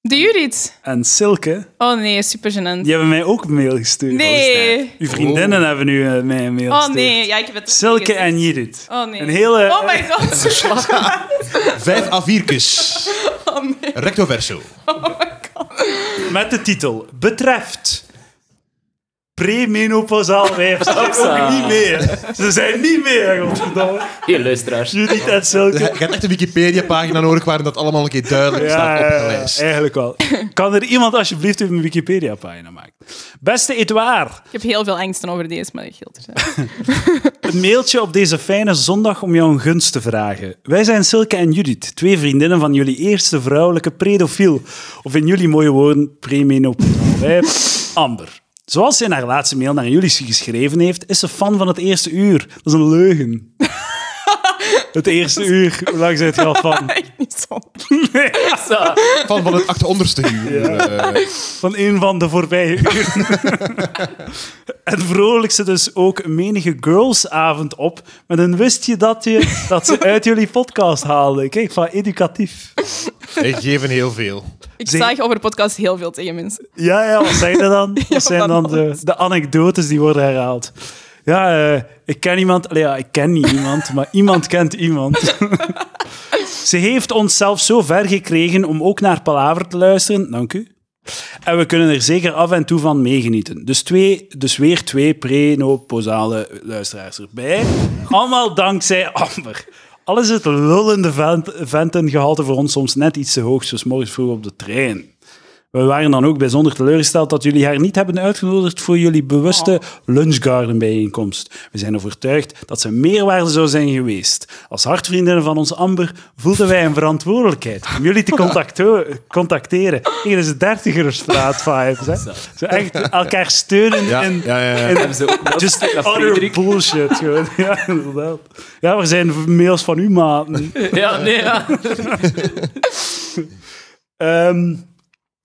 De Judith. en Silke. Oh nee, super gênant. Die hebben mij ook een mail gestuurd. Nee. Uw vriendinnen hebben nu eh, mij een mail Oh gestuurd. nee. Ja, ik heb het Silke gezegd. en Judith. Oh nee. Een hele... Oh my god. Vijf A4'tjes. Oh, Recto verso. eh, Met de titel Betreft premenopausaal wijf. Ze zijn ook niet meer. Ze zijn niet meer, godverdomme. Hier, luisteraars. Judith en Je Silke. hebt echt een Wikipedia-pagina nodig waarin dat allemaal een keer duidelijk Ja, staat op ja, de ja, lijst. eigenlijk wel. Kan er iemand alsjeblieft even een Wikipedia-pagina maken? Beste Edouard, Ik heb heel veel angsten over deze, maar dat geldt er zijn. een mailtje op deze fijne zondag om jou een gunst te vragen. Wij zijn Silke en Judith, twee vriendinnen van jullie eerste vrouwelijke predofiel. Of in jullie mooie woorden, premenopausaal wijf, Amber. Zoals ze in haar laatste mail naar jullie geschreven heeft, is ze fan van het eerste uur. Dat is een leugen. het eerste uur, hoe lang zijn het er al van? Echt niet zo. Opsa. Van, van het achteronder uur. Eh, Van een van de voorbije uren. en vrolijk ze dus ook menige girlsavond op met een wist je dat, je dat ze uit jullie podcast haalden. Kijk, van educatief. Wij geven heel veel. Ik Zeg- zag over de podcast heel veel tegen mensen. Ja, ja, wat zijn er dan? Ja, Wat zijn van dan de, alles. de anekdotes die worden herhaald? Ja, eh, ik ken iemand. Allee, ja, ik ken niet iemand, maar iemand kent iemand. Ze heeft ons zelf zo ver gekregen om ook naar Palaver te luisteren. Dank u. En we kunnen er zeker af en toe van meegenieten. Dus, twee, dus weer twee prenopausale luisteraars erbij. Allemaal dankzij Amber. Al is het lullende vent, ventengehalte voor ons soms net iets te hoog, dus morgens vroeg op de trein. We waren dan ook bijzonder teleurgesteld dat jullie haar niet hebben uitgenodigd voor jullie bewuste lunchgarden bijeenkomst. We zijn overtuigd dat ze meerwaarde zou zijn geweest. Als hartvriendinnen van ons Amber voelden wij een verantwoordelijkheid om jullie te contacto- contacteren. Hier is de dertigersstraat vibes. Hè? Zo echt elkaar steunen Ja, in, ja, ja, ja. in Hebben ze ook dat just dat utter Frederik? bullshit. Gewoon. Ja, inderdaad. Ja, er zijn mails van u, maten. Ja, nee, ja. Ehm,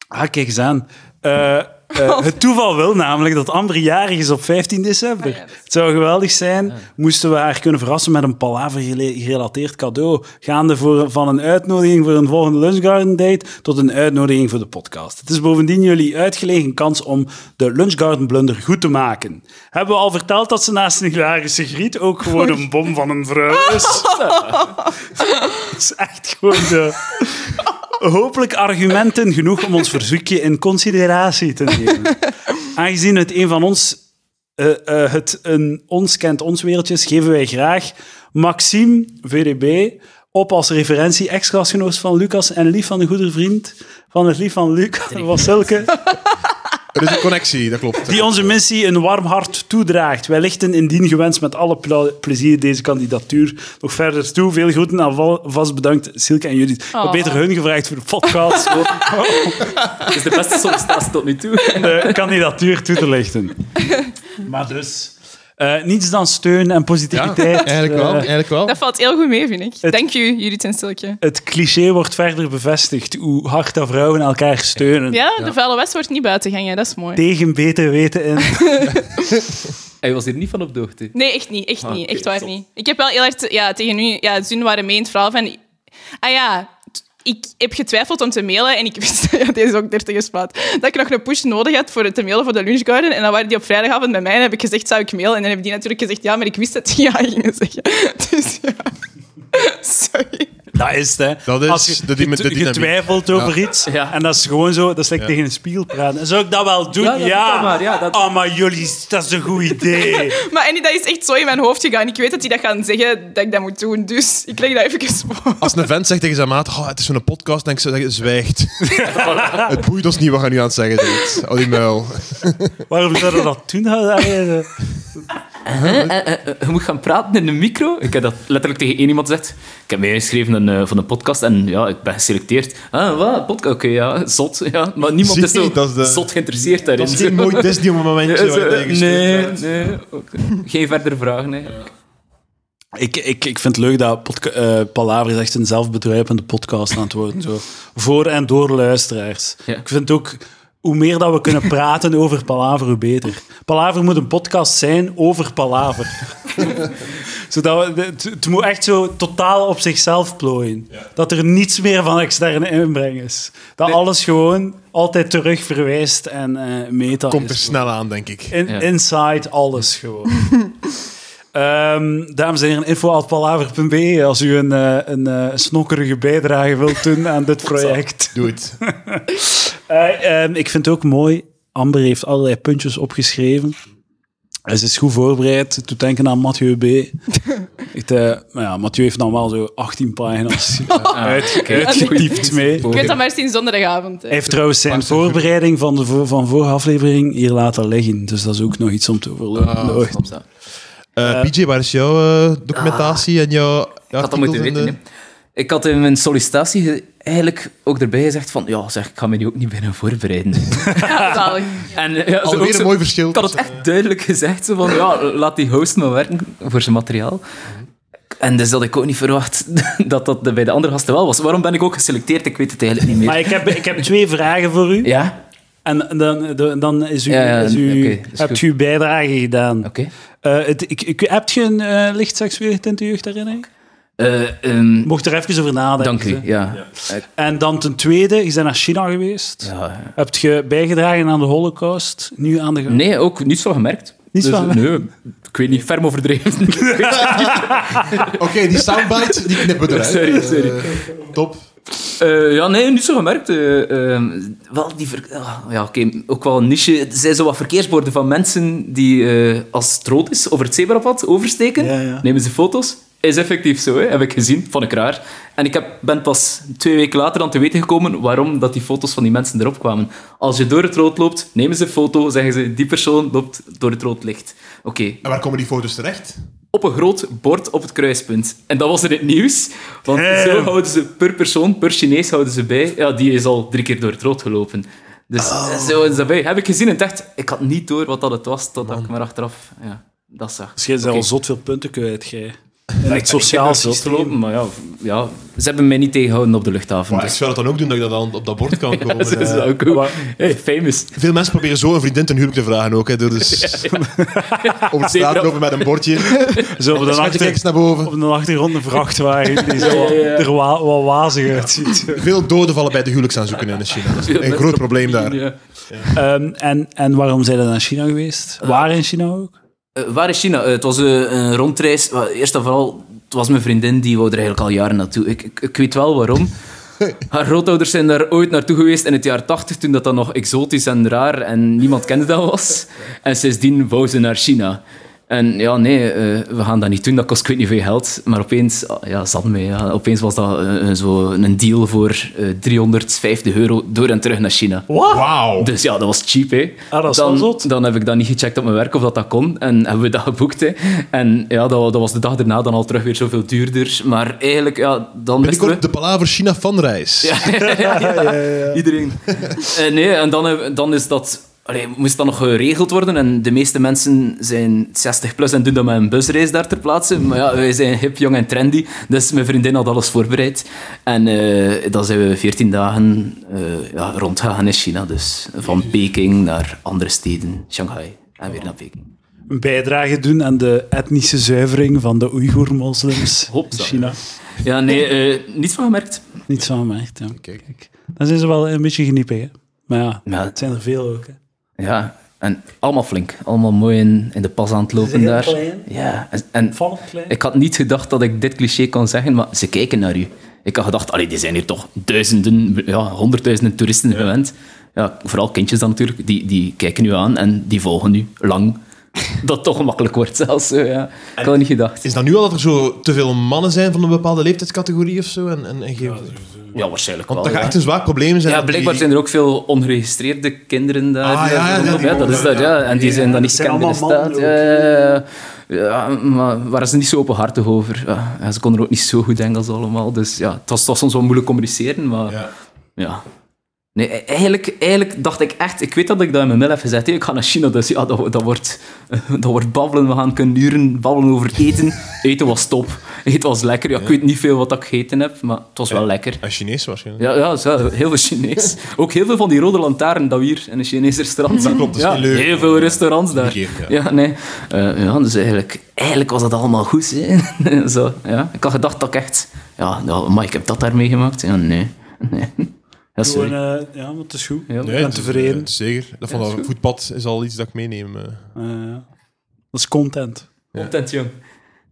ah, kijk eens aan. Eh, eh, het toeval wil namelijk dat Amber jarig is op 15 december. Ah, ja, dat is- Het zou geweldig zijn moesten we haar kunnen verrassen met een palaver-gerelateerd cadeau. Gaande voor, van een uitnodiging voor een volgende lunchgarden date tot een uitnodiging voor de podcast. Het is bovendien jullie uitgelegen kans om de lunchgarden blunder goed te maken. Hebben we al verteld dat ze naast een hilarische griet ook gewoon een bom van een vrouw is? Het is echt gewoon de... Hopelijk argumenten genoeg om ons verzoekje in consideratie te nemen. Aangezien het een van ons, eh, eh, het een ons kent ons wereldjes, geven wij graag Maxime VDB op als referentie ex-klasgenoot van Lucas en lief van de goede vriend van het lief van Lucas was Silke. Er is een connectie, dat klopt. Die onze missie een warm hart toedraagt. Wij lichten indien gewenst met alle ple- plezier deze kandidatuur nog verder toe. Veel groeten en val- vast bedankt Silke en Judith. Ik had Oh. beter hun gevraagd voor de podcast om Het is de beste sollicitatie tot nu toe. de kandidatuur toe te lichten. Maar dus... eh, niets dan steun en Ja, positiviteit. eigenlijk wel. Eh, Eigenlijk wel. Dat valt heel goed mee, vind ik. Het- Dank u, Judith en Silke. het cliché wordt verder bevestigd hoe hard dat vrouwen elkaar steunen. Ja, de vuile west wordt niet buiten gangen, dat is mooi. Tegen beter weten in. Hij was hier niet van op de hoogte. Nee, echt niet, echt Ah, niet, oké, echt waar zot. niet. Ik heb wel heel hard ja, tegen nu, ja, Zun waren mee in het verhaal van... Ah ja, t- ik heb getwijfeld om te mailen en ik wist, ja, deze is ook 30 gespaard, dat ik nog een push nodig had voor het te mailen voor de lunchgarden. En dan waren die op vrijdagavond bij mij en heb ik gezegd, zou ik mailen? En dan hebben die natuurlijk gezegd, ja, maar ik wist dat die ja gingen zeggen. Dus ja, sorry. Dat is het, hè. Dat is Als je de dyna- de get- dynamiek. getwijfeld over iets, Ja. en dat is gewoon zo, dat is like tegen een spiegel praten. En zou ik dat wel doen? Ja, Ja. dat doe dat maar, ja, dat- Oh, maar jullie, dat is een goed idee. Maar en dat is echt zo in mijn hoofd gegaan. Ik weet dat die dat gaan zeggen, dat ik dat moet doen. Dus ik leg dat even voor. Als een vent zegt tegen zijn maat, "Goh, het is zo'n podcast, denk ze, zwijgt. het boeit ons niet wat je nu aan het zeggen bent. Al die muil. Waarom zou je dat eh? doen? Allee, Eh, Je moet gaan praten in de micro. Ik heb dat letterlijk tegen één iemand gezegd. Ik heb mij ingeschreven in, eh, voor een podcast en ja, ik ben geselecteerd. Ah, wat? Podcast? Oké, ja, zot. Ja. Maar niemand Zie, is zo dat is de- zot geïnteresseerd daarin. Dat is geen mooi Disney op een momentje Ja, waar je zo, eh, tegen gestuurd nee, wordt. nee. oké. Geen verdere vragen eigenlijk. Ik, ik, ik vind het leuk dat podca- eh, Palaver is echt een zelfbedruipende podcast aan het worden. Zo. Voor en door luisteraars. Ja. Ik vind ook, hoe meer dat we kunnen praten over Palaver, hoe beter. Palaver moet een podcast zijn over Palaver. Zodat we, het, het moet echt zo totaal op zichzelf plooien. Dat er niets meer van externe inbreng is. Dat alles gewoon altijd terug verwijst en eh meta Komt er is. snel aan, denk ik. In, Ja. Inside alles gewoon. Ehm, dames en heren, info.palaver.be als u een, eh, een eh, snokkerige bijdrage wilt doen aan dit project. Doe het. Eh, ehm, ik vind het ook mooi, Amber heeft allerlei puntjes opgeschreven. En Ze is goed voorbereid. Het doet denken aan Mathieu B. Het, eh, maar ja, Mathieu heeft dan wel zo 18 pagina's uit, uitgetypt mee. Ik weet Oké. dat maar sinds donderdagavond. hè. Hij heeft trouwens zijn Pak ze goed. voorbereiding van de voor- van vorige aflevering hier laten liggen. Dus dat is ook nog iets om te Ah, overlopen. Snap ze. Eh, PJ, waar is jouw eh, documentatie en jouw eh? Ik had dat moeten weten. hè. Ik had in mijn sollicitatie ge- eigenlijk ook erbij gezegd van... Ja, zeg, ik ga me die ook niet binnen voorbereiden. Ja, zalig. En, eh, ja, zo- ook Alweer zo- een mooi verschil. Ik had het echt duidelijk gezegd, zo van, ja, laat die host maar werken voor zijn materiaal. En dus had ik ook niet verwacht dat dat bij de andere gasten wel was. Waarom ben ik ook geselecteerd? Ik weet het eigenlijk niet meer. Maar ik heb, ik heb twee vragen voor u. Ja? En dan, dan- dan is u, Ja, ja, is u, oké, dat is hebt goed. u uw bijdrage gedaan. Oké. Eh, het, ik, ik, hebt je een eh, licht seksuele tint in uw jeugdherinnering? Eh, ehm, Mocht er even over nadenken. dank u, hè. ja. Eh, En dan ten tweede, je bent naar China geweest. ja. Hebt je bijgedragen aan de holocaust? Nu aan de... ge- Nee, ook niets van gemerkt. Dus, Niets van Nee, ik weet niet, ferm overdreven. Oké, die soundbite, die knippen we eruit. Sorry, sorry. Eh, top. Eh, ja, nee, niet zo gemerkt. Eh, eh, wel die ver- ah, ja, oké, ook wel een niche. Er zijn zo wat verkeersborden van mensen die eh, als het rood is over het zebrapad oversteken. Ja, ja. Nemen ze foto's. Is effectief zo, hè. heb ik gezien. Vond ik raar. En ik heb, ben pas twee weken later dan te weten gekomen waarom dat die foto's van die mensen erop kwamen. Als je door het rood loopt, nemen ze een foto, zeggen ze die persoon loopt door het rood licht. Oké, En waar komen die foto's terecht? op een groot bord op het kruispunt. En dat was in het nieuws. Want Damn. zo houden ze per persoon, per Chinees houden ze bij. Ja, die is al drie keer door het rood gelopen. Dus zo is dat bij. Heb ik gezien en dacht, ik had niet door wat dat het was, totdat ik maar achteraf ja, dat zag. Dus jij bent Oké. al zot veel punten kwijt, jij. In het Ik sociaal heb door het rood systeem. gelopen, maar ja, v- ja, ze hebben mij niet tegengehouden op de luchthaven. Maar ik dus. zou dat dan ook doen, dat ik dat dan op dat bord kan komen. Dat is Eh, ook goed. maar- Hey, famous. Veel mensen proberen zo een vriendin ten huwelijk te vragen ook. Hè, door dus op het straat Zebra- lopen met een bordje. Zo op de, Schatje, kijk achter, eens naar boven. op de achtergrond een vrachtwagen die zo Ja, ja, ja. er wa- wat wazig uitziet. Veel doden vallen bij de huwelijksaanzoeken in China. Dat is een groot probleem daar. Ja. Ehm, en, en waarom zijn we naar China geweest? Waar in China ook? Eh, waar is China? Eh, het was eh, een rondreis. Wel, Eerst en vooral, het was mijn vriendin, die wou er eigenlijk al jaren naartoe. Ik, ik, ik weet wel waarom. Haar grootouders zijn daar ooit naartoe geweest in het jaar 80, toen dat dan nog exotisch en raar en niemand kende dat was. En sindsdien wou ze naar China. Eh, En ja, nee, eh, we gaan dat niet doen, dat kost ik weet niet veel geld. Maar opeens, ah, ja, zat mee. Ja. Opeens was dat eh, eh, zo een deal voor eh, 350 euro door en terug naar China. Wat? Wauw. Dus ja, dat was cheap, hè. Ah, dat is wel dan, zot. dan heb ik dat niet gecheckt op mijn werk of dat dat kon. En hebben we dat geboekt, hè. En ja, dat, dat was de dag daarna dan al terug weer zoveel duurder. Maar eigenlijk, ja, dan wisten we... Binnenkort de Palaver China fanreis. Ja. Iedereen. Eh, nee, en dan, heb- dan is dat... Allee, moest dat nog geregeld worden en de meeste mensen zijn 60 plus en doen dat met een busreis daar ter plaatse. Maar ja, wij zijn hip, jong en trendy, dus mijn vriendin had alles voorbereid. En eh, dan zijn we 14 dagen eh ja, rondgegaan in China, dus van Peking naar andere steden, Shanghai en weer naar Peking. Een bijdrage doen aan de etnische zuivering van de Oeigoer-moslims in Hopsa. China. Ja, nee, eh niets van gemerkt. Niet van mij, echt. Ja. Kijk. Dan zijn ze wel een beetje geniepig, hè. Maar ja, Ja. het zijn er veel ook, hè. Ja, en allemaal flink. Allemaal mooi in, in de pas aan het lopen Heel daar. klein. Ja, en, en Vallend klein. ik had niet gedacht dat ik dit cliché kon zeggen, maar ze kijken naar u. Ik had gedacht, allee, die zijn hier toch duizenden, ja, honderdduizenden toeristen gewend. Ja, vooral kindjes dan natuurlijk, die, die kijken u aan en die volgen u lang. Dat toch makkelijk wordt zelfs. zo, Ja. Ik had niet gedacht. Is dat nu al dat er zo te veel mannen zijn van een bepaalde leeftijdscategorie of zo? En, en, en geven- Ja, waarschijnlijk Want wel. dat gaat ja. echt een zwaar probleem zijn. Ja, dat die- blijkbaar zijn er ook veel ongeregistreerde kinderen daar. eh, Ah, ja, ja, ja, die dat is mogen, dat, ja. En die Ja, zijn dan niet dat zijn gekend in de allemaal staat. Ja, mannen ja, ja. Ja, maar waren ze niet zo openhartig over. Ja, en ze konden er ook niet zo goed Engels allemaal. Dus ja, het was, het was soms wel moeilijk communiceren, maar ja. Ja. Nee, e- eigenlijk, eigenlijk dacht ik echt... Ik weet dat ik dat in mijn mail heb gezet. hè. Ik ga naar China, dus ja, dat, wo- dat, wordt, dat wordt babbelen. We gaan kunnen uren babbelen over eten. Eten was top. Eten was lekker. Ja, ik weet niet veel wat ik gegeten heb, maar het was wel lekker. En Chinees waarschijnlijk. Ja, ja, zo, heel veel Chinees. Ook heel veel van die rode lantaarn dat we hier in een Chinees restaurant zien. klopt, dat is ja, niet leuk. Heel veel restaurants daar. Begeerd, ja. nee. Eh, ja, dus eigenlijk, eigenlijk was dat allemaal goed. Hè. zo, ja. Ik had gedacht dat ik echt... Ja, nou, maar ik heb dat daar meegemaakt. Ja, nee. nee. Ja, Gewoon, sorry. eh, ja, maar het is goed. Ja. Ik ben het is, tevreden. eh, zeker. Dat van Ja, is dat goed. voetpad is al iets dat ik meeneem. eh. Eh, ja. dat is content. Content, jong.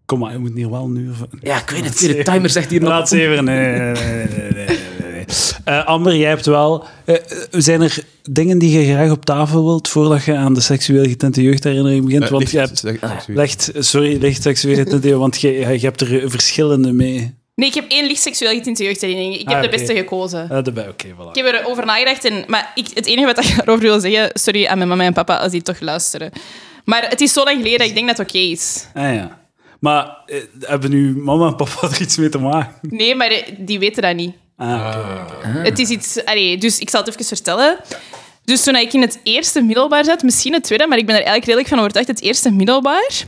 Kom maar, je moet hier wel nu... Of... Ja, ik weet het. De timer zegt hier nog... Laat ze even. Nee, nee, nee, nee, nee, nee, nee. Eh, Amber, jij hebt wel. eh, eh, zijn er dingen die je graag op tafel wilt voordat je aan de seksueel getinte jeugdherinnering begint? Eh, want licht, je hebt. zeg- Ah, zeg- Legt, sorry, licht seksueel getinte jeugd, want je, je hebt er verschillende mee. Nee, ik heb één licht seksueel getinte jeugdherinnering. Ik heb Ah, de oké. beste gekozen. Eh, daarbij, oké, voilà. Ik heb erover nagedacht. En, maar ik, het enige wat ik daarover wil zeggen... Sorry aan mijn mama en papa als die toch luisteren. Maar het is zo lang geleden dat ik denk dat het oké is. Ah, ja. Maar eh, hebben nu mama en papa er iets mee te maken? Nee, maar eh, die weten dat niet. Ah, oké. Het is iets... Allee, dus ik zal het even vertellen. Dus toen ik in het eerste middelbaar zat, misschien het tweede, maar ik ben er eigenlijk redelijk van overtuigd, het eerste middelbaar.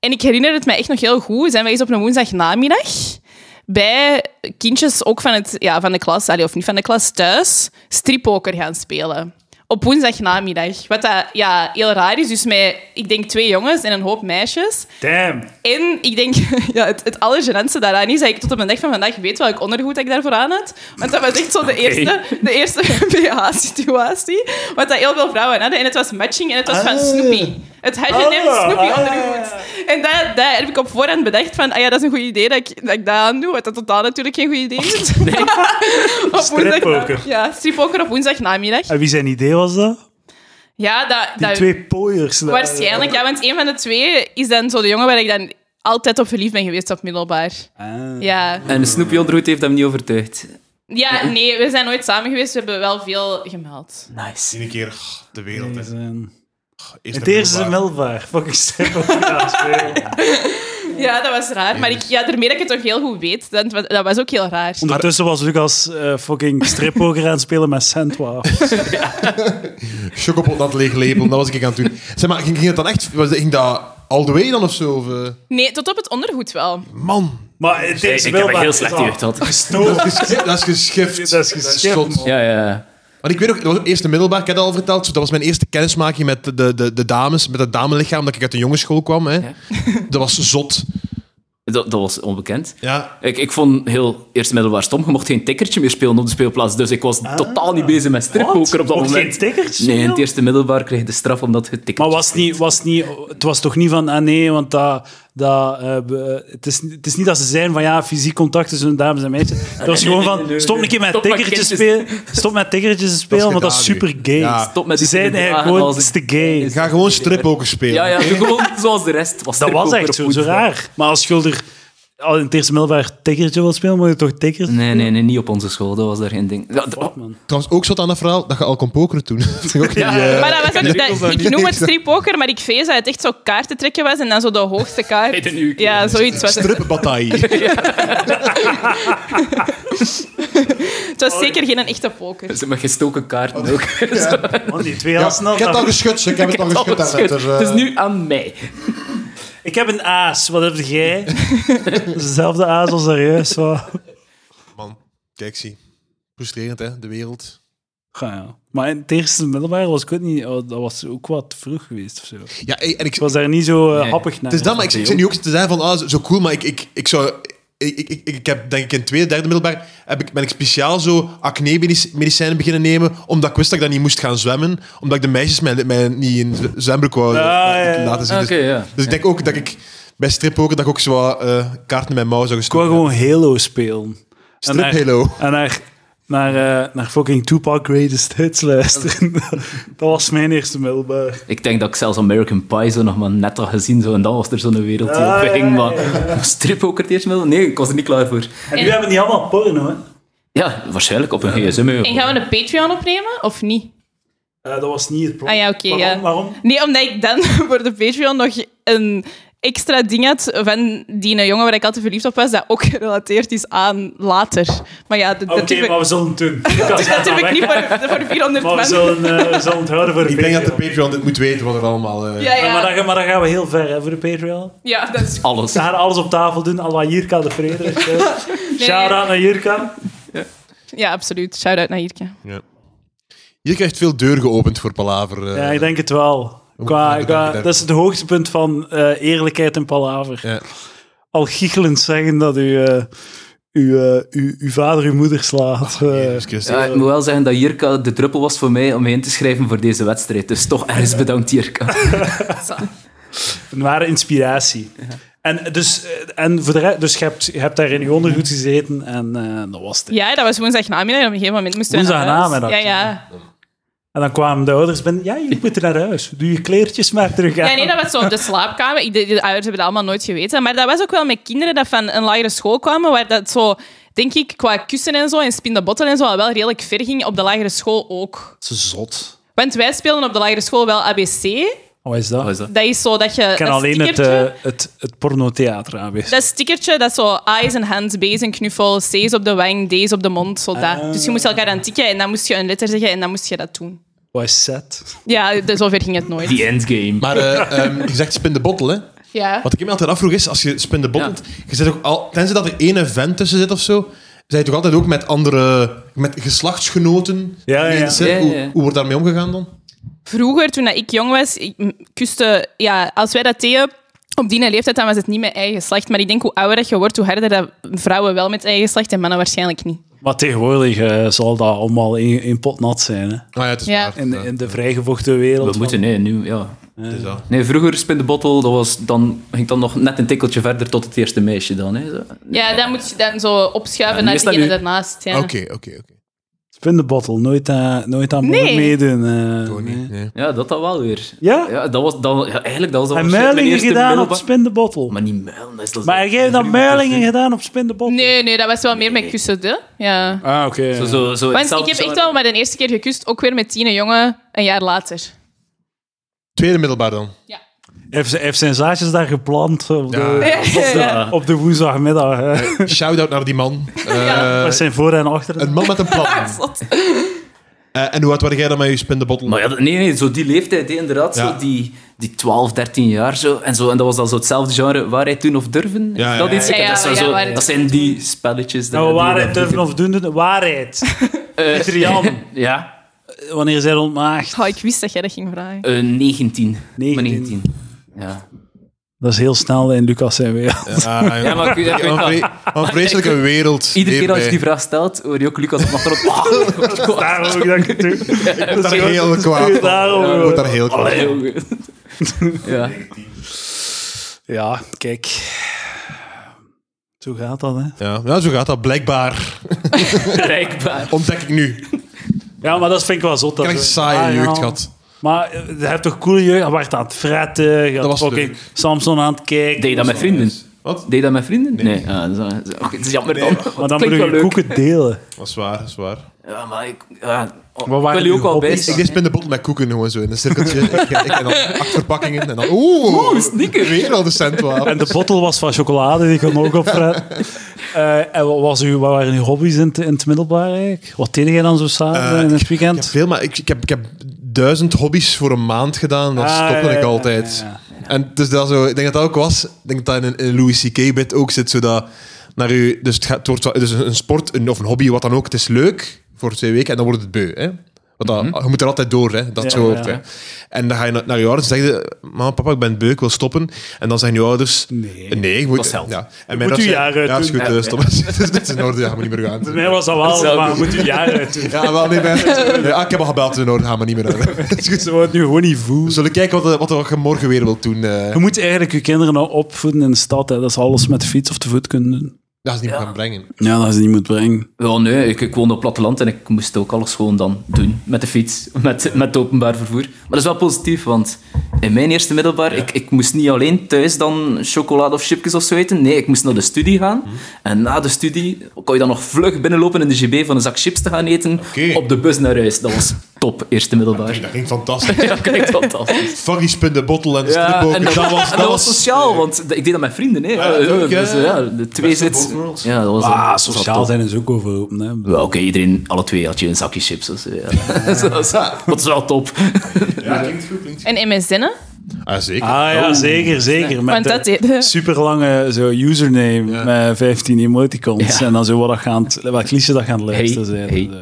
En ik herinner het mij echt nog heel goed. Zijn wij eens op een woensdagnamiddag bij kindjes ook van, het, ja, van de klas, allee, of niet van de klas, thuis strippoker gaan spelen. Op woensdagnamiddag. Wat dat, ja, heel raar is. Dus met, ik denk, twee jongens en een hoop meisjes. Damn. En ik denk, ja, het, het allergenantste daaraan is dat ik tot op mijn dag van vandaag weet welk ondergoed ik daarvoor aan had. Want dat was echt zo de eerste, de eerste BH-situatie. Want dat heel veel vrouwen hadden. En het was matching en het was van Ah. Snoopy. Het hasje-neemt Ah. Snoopy ondergoed. En dat, dat heb ik op voorhand bedacht van, ah ja, dat is een goed idee dat ik dat, ik dat aan doe. Wat dat totaal natuurlijk geen goed idee is. Op woensdag- Strippoker. Ja, strippoker op woensdagnamiddag. En wie zijn idee was dat? Ja, dat... Die dat twee pooiers. daar. Nou, Waarschijnlijk, ja, want een van de twee is dan zo de jongen waar ik dan altijd op verliefd ben geweest op middelbaar. Ah. Ja. En Snoopy ondergoed heeft hem niet overtuigd. ja, nee, we zijn nooit samen geweest. We hebben wel veel gemeld. Nice. Eén keer oh, de wereld. hè. Die zijn- Eerst Het naar eerste is middelbaar. een welvaar. Fucking strippoker gaan spelen. Ja, dat was raar. Maar ik, ja, daarmee dat ik het toch heel goed weet, dat, was- dat was ook heel raar. Ondertussen was Lucas eh, fucking strippoker aan het spelen met Sandwafels. Chocopot dat leeg label, dat was ik aan het doen. Zeg maar, ging, ging het dan echt... Was, ging dat all the way dan of zo? Of, eh? Nee, tot op het ondergoed wel. Man, Maar het is Ik heb een heel slechte slecht jeugd gehad. Gestoord. dat is geschift. Dat is geschift. Dat is geschift, zot. man. Ja, ja. Want ik weet nog, dat was eerste middelbaar, ik heb dat al verteld. Dus dat was mijn eerste kennismaking met de, de, de dames, met het damelichaam, dat ik uit de jongensschool kwam. Hè. Ja. Dat was zot. Dat, dat was onbekend. Ja. Ik, ik vond heel eerst middelbaar stom. Je mocht geen tikkertje meer spelen op de speelplaats. Dus ik was totaal niet bezig met strippoker op Ah. dat Mocht moment. geen tikkertje Nee, in het spelen? eerste middelbaar kreeg je de straf omdat je tikkertje Maar was het, niet, was het, niet, het was toch niet van, ah nee, want dat, dat, eh, be- het, is, het is niet dat ze zijn van ja, fysiek contact tussen dames en meisjes. Het was nee, gewoon nee, van nee, nee, stop een nee. keer met Stop met tikkertjes te spelen. kindertjes. Stop met tikkertjes te spelen, want dat is gedaan nu. super gay. Ja. Stop met Ze die zijn kinderdragen eigenlijk gewoon als een- te gay. Ga gewoon strippoker spelen. Ja, ja, doe gewoon zoals de rest. Was Dat was strippoker echt of zo, zo voetbal. raar. Maar als schulder al in het eerste middelbaar tikkertje wil spelen, moet je toch tikkertje Nee, nee, nee, niet op onze school. Dat was daar geen ding. Ja, d- oh, man. Trouwens, ook zat aan dat verhaal dat je al kon pokeren toen. Dat is ook niet, eh, Maar dat was de ook, regels dat, daar ik niet noem in het staan. strippoker, maar ik vrees dat het echt zo kaarten trekken was en dan zo de hoogste kaart. Hey, de nieuwe keer. Ja, zoiets was het. Stripbataille. Het was zeker geen echte poker. Ze hebben gestoken kaarten ook. Man, die twee Ja, hadden ik heb het al snel. geschud, ik heb het al geschud. Alles daarnet, goed. dus, eh, Het is nu aan mij. Ik heb een aas, wat heb jij? Dat is Dezelfde aas als er juist. was. Man, kijk, zie. Frustrerend, hè, de wereld. Ja, ja. Maar in het eerste middelbaar was ik ook niet... oh, dat was ook wat vroeg geweest of zo. Ik Ja, en ik, was daar niet zo eh, Nee. happig naar. Het is dat, maar ik, ik zit nu ook te zeggen van, ah, zo- zo cool, maar ik, ik, ik zou... Ik, ik, ik- ik heb denk ik in tweede, derde middelbaar heb ik, ben ik speciaal zo acne-medicijnen beginnen nemen, omdat ik wist dat ik dan niet moest gaan zwemmen, omdat ik de meisjes mij, mij niet in z- zwembroek wou Ah, ja, ja. laten zien. Oké, Dus- ja. Dus ik denk ook dat ik bij strippoker dat ik ook zo wat, eh, kaarten in mijn mouw zou Ik wou gestoken hebben. gewoon Halo spelen. En naar- Strip-Halo. En naar, naar, eh, naar fucking Tupac Greatest Hits luisteren. dat was mijn eerste middelbaar. Ik denk dat ik zelfs American Pie zo nog maar net had gezien. Zo, en dan was er zo'n wereld die Ah, opging. ja, Maar strip ook het eerst wel? Nee, ik was er niet klaar voor. En nu hebben die allemaal porno, hè? Ja, waarschijnlijk op een gsm. hè. En gaan we een Patreon opnemen of niet? Eh, dat was niet het Ah probleem. ja, oké. waarom, ja. waarom? Nee, omdat ik dan voor de Patreon nog een extra ding had van die een jongen waar ik altijd verliefd op was, dat ook gerelateerd is aan later. Maar ja, dat, Ah, Oké, dat durf ik- maar we zullen het doen. dat durf ik niet voor, voor 400 Maar we man. zullen, eh, we zullen het houden voor de Ik denk dat de Patreon. Patreon dit moet weten wat er allemaal... eh, Ja, Ja, maar, ja. dan, maar dan gaan we heel ver hè, voor de Patreon. ja, dat is Alles. Ze gaan alles op tafel doen, à la Jirka de Frederik. hè. Shout-out naar Jirka. Ja, absoluut. Shout-out naar Jirke. Je krijgt veel deur geopend voor Palaver. eh. Ja, ik denk het wel. Qua, bedankt, qua, bedankt. dat is het hoogtepunt van eh, eerlijkheid en palaver. Ja. Al giechelend zeggen dat u, eh uw, eh, uw, uw vader uw moeder slaat. eh. Oh, Jezus Christus. Ja, ik moet wel zeggen dat Jirka de druppel was voor mij om me in te schrijven voor deze wedstrijd. Dus toch ergens bedankt, Jirka. Een ware inspiratie. En, dus, eh, en voor de rest, dus je hebt, je hebt daar in je ondergoed gezeten en eh, dat was het. Ja, dat was woensdag namiddag. En op een gegeven moment moesten we naar huis. Woensdagnamiddag, Ja, ja. En dan kwamen de ouders binnen. Ja, je moet naar huis. Doe je kleertjes maar terug aan. Ja, nee, dat was zo de slaapkamer. Ik- De, de ouders hebben dat allemaal nooit geweten. Maar dat was ook wel met kinderen dat van een lagere school kwamen, waar dat zo, denk ik, qua kussen en zo en spindebotten en zo al wel redelijk ver ging. Op de lagere school ook. is zot. Want wij speelden op de lagere school wel ABC. Wat Oh, is dat? Wat Oh, is dat? Dat is zo dat je... Ik ken dat alleen het, stickertje- eh, het, het pornotheater aanwezig. Dat stickertje, dat zo A is een hand, B is een knuffel, C is op de wang, D is op de mond, zo dat. Ah. Dus je moest elkaar aan tikken en dan moest je een letter zeggen en dan moest je dat doen. Wat Oh, is set? Ja, de- zover ging het nooit. The endgame. Maar eh, ehm, je zegt spin de bottle, hè? Ja. Wat ik me altijd afvroeg is, als je spin de bottelt, je zit ook al, tenzij dat er één vent tussen zit of zo, zijn je toch altijd ook met andere, met geslachtsgenoten Ja, ja, in ja. de cirkel? Ja, ja, ja. Hoe, hoe wordt daarmee omgegaan dan? Vroeger, toen dat ik jong was, ik m- kuste... Ja, als wij dat deden... Op die leeftijd dan was het niet mijn eigen geslacht. Maar ik denk hoe ouder dat je wordt, hoe harder dat vrouwen wel met eigen geslacht en mannen waarschijnlijk niet. Maar tegenwoordig eh, zal dat allemaal in, in pot nat zijn. Hè? Ah ja, het is Ja. waar. In, Ja, in de vrijgevochten wereld. We moeten, van- nee, nu, ja. het is dat. Nee, vroeger spin de bottle, dat was dan, ging dan nog net een tikkeltje verder tot het eerste meisje dan. Hè, zo. Ja, dat moet je dan zo opschuiven Ja, nu naar is dat diegene nu. daarnaast. Ja. Oké, oké, oké. Spin de bottle, nooit, aan nooit aan boord Nee. meedoen. eh, Gewoon niet, nee. nee. Ja, dat dan wel weer. Ja? Ja, dat was, dat, ja eigenlijk dat was dat En waarschijnlijk mijn muilingen eerste gedaan op middelba- spin de bottle. Maar, Maar niet muilen, dat is dat jij hebt dan muilingen gedaan op spin de bottle? Nee, nee, dat was wel meer met kussen, hè? Ja. Ah, oké. Zo, zo, zo Want ik hetzelfde heb echt zo- wel maar de eerste keer gekust, ook weer met tien jongen, een jaar later. Tweede middelbaar dan. Heeft, ze- heeft zijn zaadjes daar geplant op de, Ja. Ja. op de woensdagmiddag? Hè? Shout-out naar die man. Eh, Met zijn voor- en achter. Een man met een plan. Eh, en hoe oud was jij dan met je spin de bottle? Maar ja, dat- nee, nee, zo die leeftijd, hè, inderdaad. Ja. Zo die, die 12, 13 jaar zo. En, zo. en dat was dan zo hetzelfde genre, waarheid doen of durven. Ja, ja, dat, ja, iets? ja. Ik heb dat, Ja, zo- ja, zo- waarheid dat zijn die spelletjes. Nou, die- waarheid die- durven of doen, doen. Waarheid. Eh, Pieter Jan. ja, Wanneer zij ontmaagd. Oh, ik wist dat jij dat ging vragen. eh 19. Maar 19. 19. Ja. Dat is heel snel in Lucas zijn wereld. Ja, Ja, maar ik- ja, ik weet Wat een dat. vre- wat een vreselijke wereld. Iedere keer als je die leeftijd. vraag stelt, hoor je ook Lucas op "Oh, de achtergrond. Ah, Daarom ook dat ik het doe. Ik daar heel kwaad van. Daarom, Ik word daar heel kwaad. Allee, jongen. ja. Ja, kijk. Zo gaat dat, hè. Ja, ja zo gaat dat blijkbaar. Bereikbaar. Ontdek ik nu. Ja, maar dat vind ik wel zot. Dat Krijg zo- saaie Ah, ja. jeugd gehad. Maar eh, je hebt toch coole jeugd? Je werd aan het fretten, je had was fucking leuk. Samson aan het kijken. Deed je dat met vrienden? Wat? Deed je dat met vrienden? Nee. Ah, dat is- dat is- oké, het is jammer dan. maar dan Het moet klinkt je je wel leuk. koeken delen. Dat is waar, dat is waar. Ja, maar ik... Ja, ik waren wil je uw ook wel bij hobby's? Ik staan. deed spin de bottle met koeken gewoon zo in een cirkeltje. ik, ik, en dan acht verpakkingen en dan... Oeh, Oeh, sneaker. Weer al de cent waard. En de bottle was van chocolade, die kon ook op fretten. Eh, en wat, was uw, wat waren uw hobby's in, het- in het middelbaar eigenlijk? Wat deed jij dan zo samen Eh, in het Ik heb weekend? veel, maar ik, ik, heb, ik heb duizend hobby's voor een maand gedaan. En dan Ah, stopte ja, ja, ik ja, altijd. ja, En dus dat zo, ik denk dat dat ook was. Ik denk dat dat in een- in een Louis C.K.-bit ook zit. Zodat naar u, dus het, gaat, het wordt wel- dus een een sport een, of een hobby, wat dan ook. Het is leuk voor twee weken en dan wordt het beu. Hè? Want dat, je moet er altijd door, hè? dat Mhm. Ja, zo. ja. hè. En dan ga je naar, naar je ouders en zeg je... Mama, papa, ik ben beu, ik wil stoppen. En dan zeggen je ouders... Nee. Nee, ik Dat moet... is Ja. held. En moet ouders uw zeggen, jaar uit Ja, is doen. goed, eh, stop. Dit is in orde, ja, je moet niet meer gaan. Bij mij was dat wel, Hetzelfde. maar je moet een jaar uit doen. Ja, wel, nee, ben, nee, ah, ik heb al gebeld in orde, gaan we niet meer uit. Het is goed, Ze worden nu gewoon niet voelen. We zullen kijken wat, eh, wat er morgen weer wil doen. eh. Je moet eigenlijk je kinderen nou opvoeden in de stad. Hè. Dat ze alles met de fiets of de voet kunnen doen. dat is niet meer gaan brengen. Ja, dat is niet moet brengen. Wel, nee, ik, ik woonde op het platteland en ik moest ook alles gewoon dan doen. Met de fiets, met, met het openbaar vervoer. Maar dat is wel positief, want in mijn eerste middelbaar, ik, ik moest niet alleen thuis dan chocolade of chipjes of zo eten. Nee, ik moest naar de studie gaan. Mhm. En na de studie kon je dan nog vlug binnenlopen in de GB van een zak chips te gaan eten. Oké. Op de bus naar huis. Dat was top, eerste middelbaar. Dat ging fantastisch. Ja, kijk, fantastisch. Fuck die spin de bottle en de Ja, stripboek. en dat, was, dat was sociaal, want ik deed dat met vrienden. Hè. Ja, dat ook, Dus, hè. ja, de twee Best of zit. both worlds. Ja, dat was dat Ah, was wel sociaal top. zijn is ook overopen. Hè. Wel, Oké, iedereen, alle twee had je een zakje chips. Dus, eh, ja. dat, is, dat is wel top. Ja, klinkt goed, klinkt En MSN'en? Ah, zeker. Ah ja, zeker, zeker. Met Want de dat deed- superlange zo, username met 15 emoticons. Ja. En dan zo wat dat gaan, welk liedje dat gaan luisteren Hey, zijn. hey.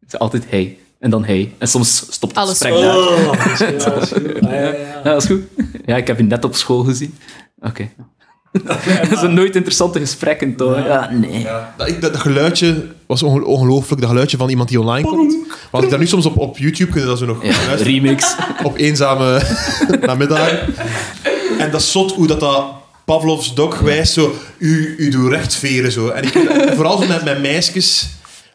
Het is altijd hey en dan hey. En soms stopt het Alles gesprek daar. dat is goed. Ah, ja, ja. Ja, dat is goed. Ja, ik heb je net op school gezien. Oké. dat zijn nooit interessante gesprekken, toch? Ja, nee. Dat, ik- dat, dat geluidje was onge- ongelooflijk. Dat geluidje van iemand die online komt. Want ik daar nu soms op, op YouTube kunnen dat zo nog Ja, luisteren. remix. Op eenzame namiddag. En dat is zot hoe dat dat... Pavlovs dok wijst zo, u, u doet rechtveren zo. En, ik, en vooral zo met mijn meisjes,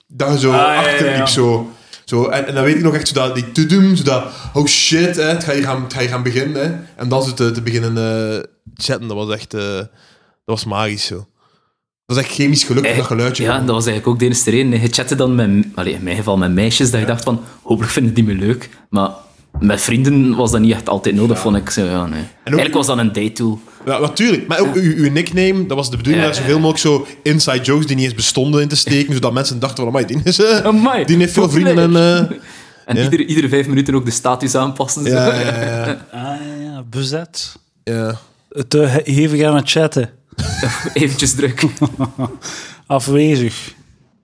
dat je zo Ah, ja, ja, achterliep ja. zo. zo en, en dan weet ik nog echt zo dat, die tudum, zo dat, oh shit, hè, het, ga je gaan, het ga je gaan beginnen. Hè. En dan zo te, te beginnen eh, chatten, dat was echt, eh, dat was magisch zo. Dat is echt chemisch geluk, dat geluidje. Eh, Ja, dat was eigenlijk ook de enige reden. Je chatte dan met, allee, in mijn geval met meisjes, dat je dacht van, hopelijk vinden die me leuk. Maar met vrienden was dat niet echt altijd nodig, vond ik. Zo, ja, nee. Eigenlijk was dat een date tool. Ja, natuurlijk. Maar ook uw, uw nickname, dat was de bedoeling Ja. daar zoveel mogelijk zo inside jokes die niet eens bestonden in te steken, zodat mensen dachten van, amai, die, is, eh, Amai, die heeft veel vrienden en... eh, En Ja. iedere, iedere vijf minuten ook de status aanpassen. zo. ja, ja, ja, ja. Ah, ja, ja, bezet. ja. Te he- hevig aan het chatten. Eventjes druk. Afwezig.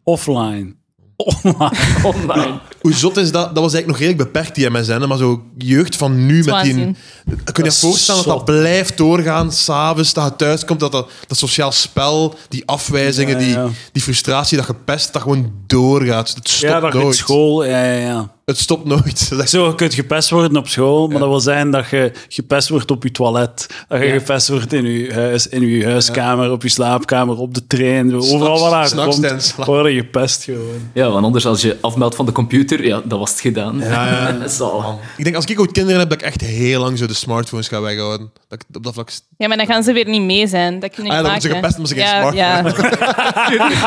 Offline. Online. Online. Hoe zot is dat? Dat was eigenlijk nog redelijk beperkt, die MSN. hè, Maar zo jeugd van nu met die... waanzin. Kun je je is voorstellen dat dat zot. blijft doorgaan? S'avonds, dat je thuis komt, dat, dat, dat sociaal spel, die afwijzingen, Ja, ja. Die, die frustratie, dat gepest, dat gewoon doorgaat. Het stopt Ja, dat je op nooit. school. Ja, ja, ja. Het stopt nooit. Dat is echt- Zo, je kunt gepest worden op school, maar dat wil zeggen dat je gepest wordt op je toilet. Dat je gepest wordt in je huis, in je huiskamer, op je slaapkamer, op de trein. Overal waar je s'nachts tijdens komt, slaap. worden gepest gewoon. Ja, want anders als je afmeldt van de computer, ja, dat was het gedaan. Ja, ja. Zal. Ehm, Ik denk, als ik ooit kinderen heb, dat ik echt heel lang zo de smartphones ga weghouden. Dat ik op dat vlak... Ja, maar dan gaan ze weer niet mee zijn. Dat kunnen Ah, niet dan maken. moeten ze gepest, maar ze geen ja, smartphone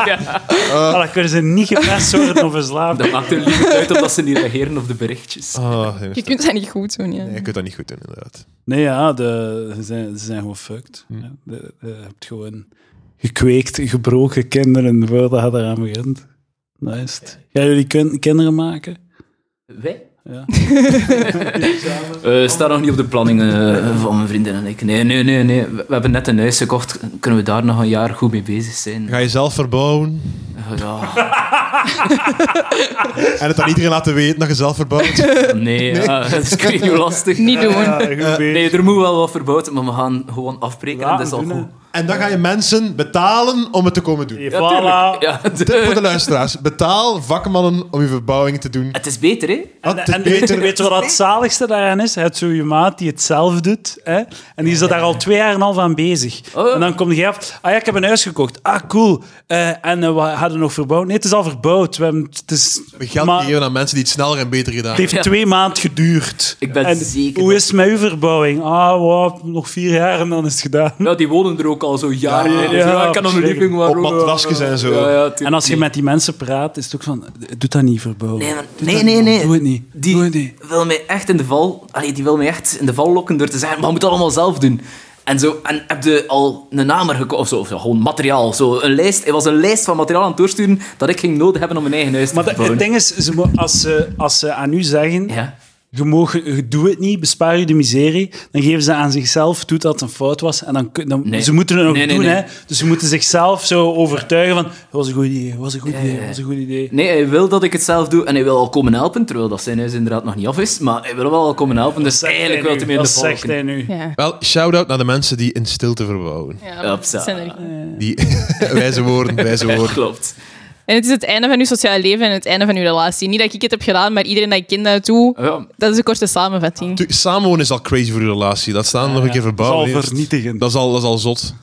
ja. Ah, dan kunnen ze niet gepest worden of in slaap. Dat maakt hun liever uit omdat ze niet reageren op de berichtjes. Ah, nee, Je kunt dat niet goed doen, ja. je kunt dat niet goed doen, inderdaad. Nee, ja, de, ze, zijn, ze zijn gewoon fucked. Ja, de- de- je hebt gewoon gekweekt, gebroken kinderen voordat je eraan begint. Dat is het. Gaan jullie kin- kinderen maken? Wij? Ja. Eh, staat nog niet op de planning eh, van mijn vrienden en ik. Nee, nee, nee, nee. We we hebben net een huis gekocht. Kunnen we daar nog een jaar goed mee bezig zijn? Ga je zelf verbouwen? Ja, En het aan iedereen laten weten dat je zelf verbouwt. nee, ja, dat is ik weet niet hoe lastig. Niet doen. Ja, goed bezig. Nee, er moet wel wat verbouwd, maar we gaan gewoon afbreken en dat is al Laten goed. doen, En dan ga je mensen betalen om het te komen doen. hè. Ja, tuurlijk. Voilà. Ja, de- Tip voor de luisteraars. Betaal vakmannen om je verbouwing te doen. Het is beter, hè? Dat En, is en weet, beter. weet je wat het zaligste daaraan is? Het zo je maat die het zelf doet. Hè? En die is daar al twee jaar en een half aan bezig. Oh. En dan komt hij af. Ah ja, ik heb een huis gekocht. Ah, cool. Eh, en eh, we hadden nog verbouwd. Nee, het is al verbouwd. We hebben, het is, We geld maar geven aan mensen die het sneller en beter gedaan het heeft Ja. twee maanden geduurd. Ik ben en zeker Hoe dat- is het met uw verbouwing? Ah, wow, nog vier jaar en dan is het gedaan. Ja, die wonen er ook al zo jaren. Ja, in. dus ja, Ja, ik kan om de living waar Op matrasjes en zo. Ja, ja, tuurlijk. En als je Nee. met die mensen praat, is het ook van: doe dat niet verbouwen. Nee, maar- Doe nee, dat nee, niet, man. nee. Doe het niet. Doe het Die niet. wil mij echt in de val, allee, die wil mij echt in de val lokken door te zeggen, maar je moet het allemaal zelf doen. En zo, en heb je al een namer gekocht, of zo, of ja, gewoon materiaal, zo, een lijst. Er was een lijst van materiaal aan het doorsturen dat ik ging nodig hebben om mijn eigen huis te Maar dat- bouwen. het ding is, ze mo- als, ze, als ze aan u zeggen. Ja. Je, mag, je doet het niet, bespaar je de miserie. Dan geven ze aan zichzelf toe dat het een fout was. En dan, kun- dan, Nee. Ze moeten het nog Nee, nee, doen, nee. hè. Dus ze moeten zichzelf zo overtuigen van... Het was een goed idee, het was een goed idee, het was een goed idee. Nee, hij wil dat ik het zelf doe en hij wil al komen helpen, terwijl dat zijn huis inderdaad nog niet af is, maar hij wil wel al komen helpen, dus Zegt eigenlijk hij wil hij nu, mij in de dat val zegt lokken. hij nu. Ja. Wel, shout-out naar de mensen die in stilte verbouwen. Ja, Hupsa. maar dat zijn er niet. Die, wijze woorden, wijze Ja, woorden. klopt. En het is het einde van uw sociale leven en het einde van uw relatie. Niet dat ik het heb gedaan, maar iedereen dat ik ken dat doe. Ja, Dat is een korte samenvatting. Tu- Samenwonen is al crazy voor je relatie. Dat staan nog een keer verbouwen. Dat is al hè. vernietigend. Dat is al, dat is al zot.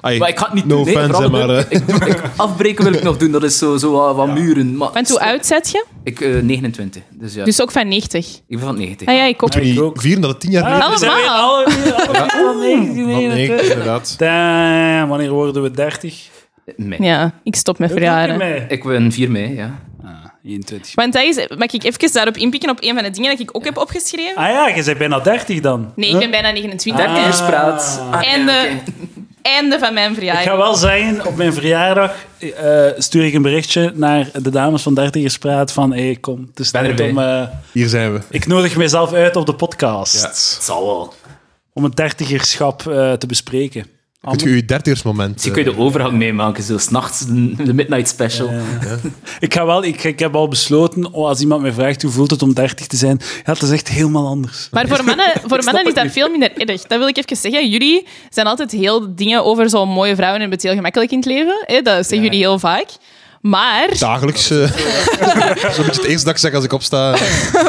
Ai, Maar ik ga het niet no doen. nee, offense, vooral hè, maar, eh, door- ik, doe- ik- afbreken wil ik nog doen, dat is zo, zo wat, wat muren. Maar, Want hoe oud zet je? Ik, eh, 29, dus ja. Dus ook van 90. ik ben van 90. Ah ja, ik ook. toen die Ik ook. vieren dat het tien jaar Ah, we zijn weer Allemaal. alle- alle- alle 19, geleden was. Nee, 21. inderdaad. Damn, wanneer worden we 30? Mei. Ja, ik stop met Hoe doe ik verjaren. ermee? Ik ben 4 mei, ja. Ah, 21. Want dat is, mag ik even daarop inpikken op een van de dingen dat ik ook heb opgeschreven? Ah ja, je bent bijna 30 dan. Nee, ik ben bijna 29. Ah. 30 is praat. Einde, einde van mijn Ik ga verjaardag. wel zeggen, op mijn verjaardag eh, stuur ik een berichtje naar de dames van 30 Praat van hey, kom, het is Ben tijd erbij. om... eh, Hier zijn we. ik nodig mezelf uit op de podcast Het zal wel. om het dertigerschap eh, te bespreken. Kunt u uw eh, dertigersmoment... Zie kun Dus je de overgang meemaken, zo s'nachts de, de midnight special. Ik, ga wel, ik, ik heb al besloten, oh, als iemand mij vraagt hoe voelt het om 30 te zijn, ja, dat is echt helemaal anders. Maar voor mannen, voor mannen is dat veel minder erg. Dat wil ik even zeggen. Jullie zijn altijd heel dingen over zo'n mooie vrouwen en hebben het heel gemakkelijk in het leven. Hè? Dat zeggen jullie heel vaak. Maar, Dagelijks. eh, Zo'n beetje het eerste dat ik zeg als ik opsta.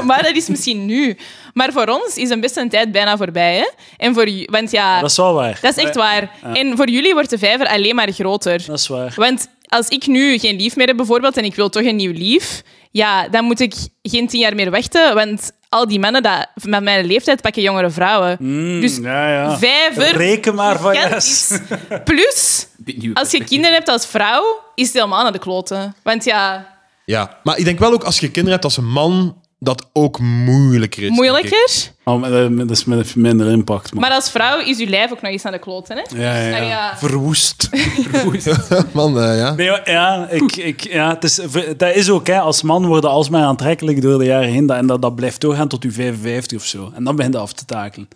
maar dat is misschien nu. Maar voor ons is een beste een tijd bijna voorbij. Hè? En voor, ju- want ja, Dat is wel waar. dat is echt waar. En voor jullie wordt de vijver alleen maar groter. Dat is waar. Want als ik nu geen lief meer heb bijvoorbeeld en ik wil toch een nieuw lief, ja, dan moet ik geen tien jaar meer wachten, want al die mannen dat, met mijn leeftijd pakken jongere vrouwen. dus Ja, ja. vijver Mm. Reken maar van kan yes. is. Plus, als je kinderen hebt als vrouw, is het helemaal naar de kloten. Want ja, Ja. Maar ik denk wel ook als je kinderen hebt als een man, dat ook moeilijker is. denk ik. moeilijker. Oh, maar, eh, dat is met minder impact, man. Maar als vrouw is je lijf ook nog eens naar de kloten. Hè? Ja, ja, ja. Ah, ja. Verwoest. Man, eh, ja. Nee, maar ja, ik, ik, ja het is, dat is ook, hè, als man worden alsmaar aantrekkelijk door de jaren heen. Dat, en dat, dat blijft doorgaan tot je 55 of zo. En dan begint dat af te takelen.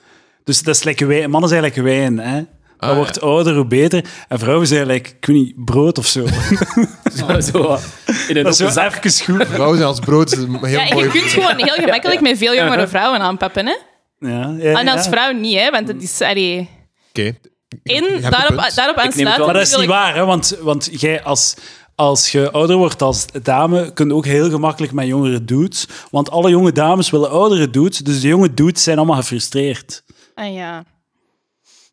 Dus dat is lekker wijn. Mannen zijn lekker wijn, hè. Dat ja. wordt ouder, hoe beter. En vrouwen zijn like, ik weet niet, brood of zo. Zo, zo, in een Dat is open zo zak. even goed. Vrouwen zijn als brood een heel Ja, en mooi. je kunt gewoon heel gemakkelijk met veel jongere vrouwen aanpappen. Hè? Ja, ja, En als ja. vrouw niet, hè? want dat is... allee. Oké. In, een daarop, punt. daarop neem het aansluit. wel. Maar dat is niet waar, hè? Want, want jij als, als je ouder wordt als dame, kun je ook heel gemakkelijk met jongere dudes. Want alle jonge dames willen oudere dudes, dus de jonge dudes zijn allemaal gefrustreerd. Ah, ja.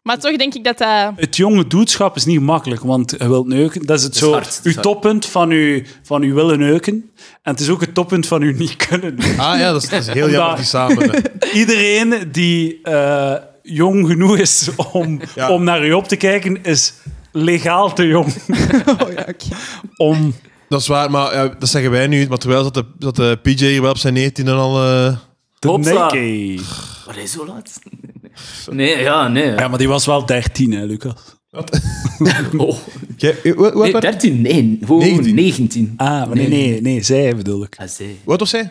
Maar toch denk ik dat dat... Het jonge doodschap is niet makkelijk, want je wilt neuken. Dat is het is zo, hard, het is uw hard. toppunt van uw, van uw willen neuken. En het is ook het toppunt van uw niet kunnen neuken. Ah ja, dat is, dat is heel Omdat- jammer die samen. eh. Iedereen die eh, jong genoeg is om, Ja. om naar u op te kijken, is legaal te jong om... Dat is waar, maar ja, dat zeggen wij nu. Maar terwijl dat de, dat de PJ hier wel op zijn 19 en al. eh, te Hopsa. neuken. Wat is zo laat? Nee, ja, nee. Ja, maar die was wel 13, hè, Lucas? Oh. Jij- hoe- hoe- hoe Nee, oud werd- 13, nee. Gewoon 19. 19. Ah, maar nee, nee, nee, zij bedoel ik. Ah, zee. hoe oud was zij?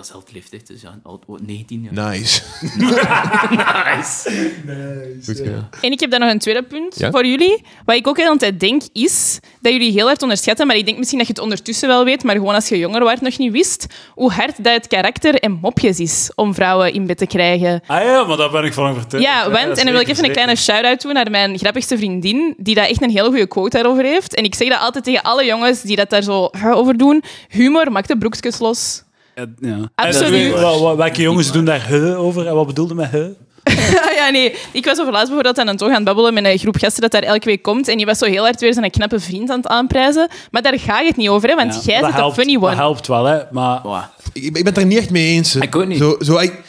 dat is altijd leeftijd, dus ja, oud- oud- 19 jaar. Nice. Nice. Goed gedaan. En ik heb dan nog een tweede punt Ja? voor jullie. Wat ik ook heel de tijd denk, is dat jullie heel hard onderschatten, maar ik denk misschien dat je het ondertussen wel weet, maar gewoon als je jonger was nog niet wist, hoe hard dat het karakter en mopjes is om vrouwen in bed te krijgen. Ah ja, maar daar ben ik van verteld. Ja, want, en dan wil ik even een kleine shout-out doen naar mijn grappigste vriendin, die daar echt een hele goede quote daarover heeft. En ik zeg dat altijd tegen alle jongens die dat daar zo hè, over doen. Humor maakt de broekjes los. Ja. Absoluut. En, eh, wa- wa- welke jongens doen daar he over en wat bedoelde met he? Ah, ja, nee. Ik was over laatst bijvoorbeeld aan het toch aan het babbelen met een groep gasten dat daar elke week komt. En die was zo heel hard weer zijn knappe vriend aan het aanprijzen. Maar daar ga je het niet over, hè, want jij dat zit de helpt, funny Dat one. helpt wel, hè. Maar Wow. Ik, ik ben het er niet echt mee eens. hè. Ik ook niet. Zo, zo, ik-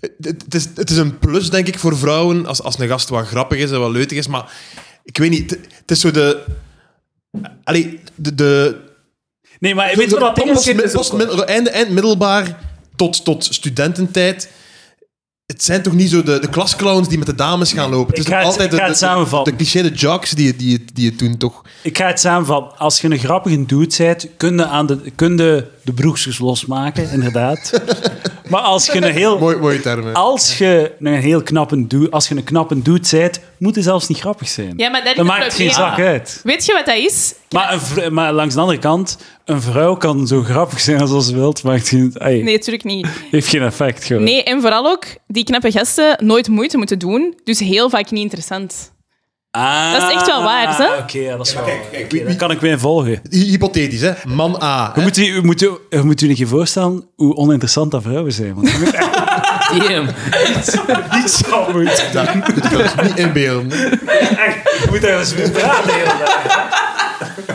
het, het is, het is een plus, denk ik, voor vrouwen als, als een gast wat grappig is en wat leutig is. Maar ik weet niet, het, het is zo de... Allee, de... de Nee, maar weet je wat dat ding post, is? post, middel- eind, eind middelbaar tot, tot studententijd. Het zijn toch niet zo de, de klasclowns die met de dames gaan lopen. Ik Het is ga het- altijd ik ga de, het de- samenvatten. de cliché, de jocks die, het- die, het- die het doen, toch? Ik ga het samenvatten. Als je een grappige dude bent, kun je, aan de, kun je de broekjes losmaken, inderdaad. maar als je een heel... Mooi, mooie termen. Als je een heel knappe dude, als je een knappe dude bent, moet je zelfs niet grappig zijn. Ja, maar dat is dat het maakt geen probleem. zak uit. Weet je wat dat is? Maar, een vrou- maar langs de andere kant, een vrouw kan zo grappig zijn als ze wilt, maar het geen, ey, Nee, natuurlijk niet. heeft geen effect. Gewoon. Nee, en vooral ook die knappe gasten nooit moeite moeten doen. Dus heel vaak niet interessant. Ah, Dat is echt wel waar, hè? Oké, ja, dat is wel waar. kijk, Oké, wie- daar kan ik weer volgen. Hy- Hypothetisch, hè? Man A. hè. Je moet, je, moet, je, je moet je een keer voorstellen hoe oninteressant dat vrouwen zijn. Want je moet echt Damn. niet zo moet. Dat moet ik wel eens dus niet inbeelden. Je moet daar eens mee praten. de hele dag.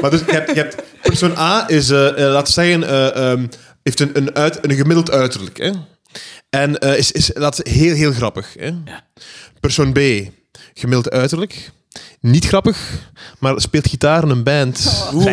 Maar dus, je hebt, je hebt, persoon A is, eh, eh, laten we zeggen, eh, ehm, heeft een, een, uit, een gemiddeld uiterlijk. Hè? En eh, is, is laten we- heel, heel grappig. Hè? Persoon B, gemiddeld uiterlijk. Niet grappig, maar speelt gitaar in een band. Bam.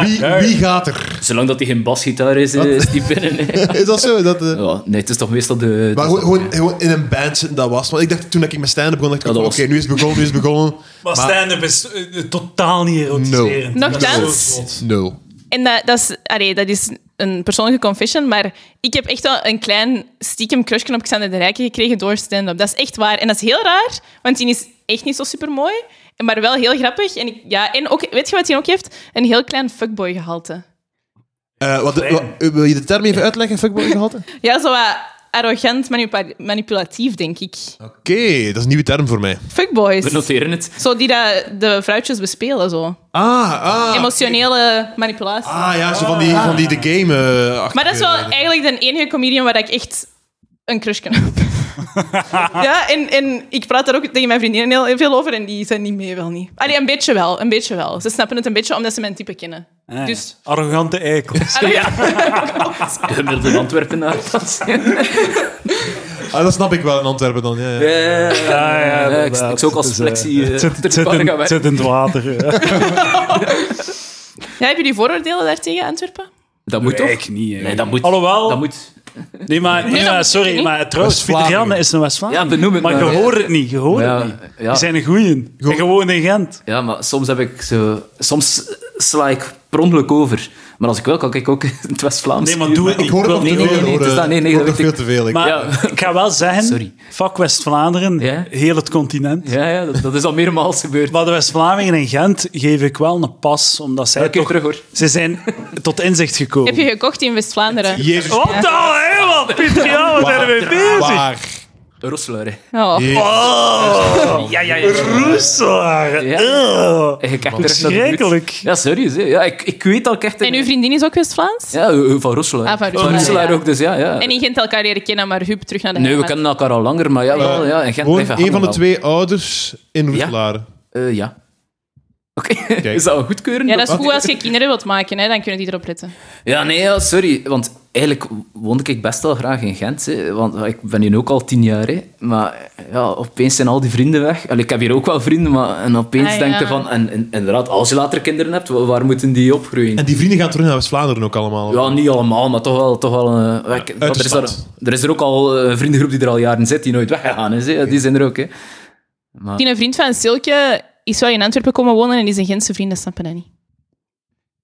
Wie, wie gaat er? Zolang dat hij geen basgitaar is, eh, is die binnen. hè. Is dat zo? Dat, eh, Ja, nee, het is toch meestal de... maar dat gewoon, is gewoon, gewoon in een band zitten, dat was. Want ik dacht toen ik met stand-up begon, dacht ik, Ja, dat oké, was- nu is het begonnen, nu is het begonnen. Maar stand-up is eh, eh, totaal niet erotiserend. No. Dat is Nochtans. zo zot. Nul. En dat, dat, is, allee, dat is een persoonlijke confession, maar ik heb echt wel een klein stiekem crushje op Xander de Rijken gekregen door stand-up. Dat is echt waar. En dat is heel raar, want die is echt niet zo supermooi, maar wel heel grappig. En, ik, ja, en ook, weet je wat hij ook heeft? Een heel klein fuckboy-gehalte. Eh, wat, wat- wil je de term even uitleggen, fuckboy gehalte? Ja, zo wat arrogant, manipa- manipulatief, denk ik. Oké, dat is een nieuwe term voor mij. We Fuckboys. noteren het. Zo die dat de vrouwtjes bespelen, zo. Ah, ah. Emotionele manipulatie. Ah ja, zo van die, van die de game. eh, achter- Maar dat is wel eigenlijk de enige comedian waar ik echt een crush kan op heb. ja, en, en ik praat daar ook tegen mijn vriendinnen heel, heel veel over en die zijn niet mee, wel niet. Allee, een beetje wel, een beetje wel. Ze snappen het een beetje omdat ze mijn type kennen. Ah, ja. Dus- Arrogante eikels. Allee, Ah. De gemiddelde Antwerpenaar. Dat is- Ah, dat snap ik wel in Antwerpen dan. Ja, ja. Eh, eh, ik, ik zou ook als flexie... Het Dus, eh, zit- het er zit pakken in- gaan het werken. zit in het water. ja. Ja, hebben jullie vooroordelen daartegen, Oh. Antwerpen? Dat moet toch? Ik niet. eh. hè. Nee, dat moet. Alhoewel, Dat moet. nee, maar, nee, dat maar moet je sorry, niet. maar trouwens, Pieter West-Vlaanderen. Janne is een west Ja, benoem het maar. maar. je hoort het niet, je hoort Ja, het niet. ja. Je zijn een goeien. Goed. En gewoon in Gent. Ja, maar soms heb ik zo... Soms sla ik per ongeluk over. Maar als ik wil, kan ik ook in het West-Vlaams. Nee, maar doe het Ik hoor het nog niet. nee, te nee, veel. nee, hoor, het is eh, dat- nee, nee, ik hoor dat nog weet veel te ik. veel. ik- Maar Ja. ik ga wel zeggen, Sorry. fuck West-Vlaanderen, Ja? heel het continent. Ja, ja dat, dat is al meermaals gebeurd. Maar de West-Vlamingen in Gent geef ik wel een pas, omdat zij Elke keer toch... terug, hoor. Ze zijn tot inzicht gekomen. Heb je gekocht in West-Vlaanderen? Jezus. Wat dan, hé, wat? Pieter Janne, zijn we bezig? Waar? Rosselaar, hè. Oh. Jezus. Ja, ja, ja. Roeselaar. Ja. Ugh. En je kijkt terug naar de buurt. Verschrikkelijk. Ja, serieus. hè. Ja, ik, ik weet al echt... En uw vriendin is ook West-Vlaams? Ja, eh, van Rosselaar. Ah, van Rosselaar, ja. ook, dus ja. ja. En in Gent elkaar leren kennen, maar hup, terug naar de Nee, we heimat. kennen elkaar al langer, maar ja, wel, ja. En Gent Gewoon blijft een van de hangen twee ouders in Roeselaar. wel. Eh, ja. Oké, is dat een goedkeuren? Ja, dat is goed als je kinderen wilt maken, hè, dan kunnen die erop letten. Ja, nee, ja, sorry. Want eigenlijk woonde ik best wel graag in Gent. Hè, want ik ben hier ook al tien jaar. Hè, maar ja, opeens zijn al die vrienden weg. Allee, ik heb hier ook wel vrienden, maar en opeens Ah, denk je ja. van... En, en- inderdaad, als je later kinderen hebt, wa- waar moeten die opgroeien? En die vrienden gaan terug naar West-Vlaanderen ook allemaal. Ja, niet allemaal, maar toch wel... Toch wel eh, ik- want de er, is stad. er, er is er ook al een vriendengroep die er al jaren zit, die nooit weggegaan is. Hè, Die zijn er ook, hè. Die een vriend van Silke is wel in Antwerpen komen wonen en die zijn Gentse vrienden snappen dat niet.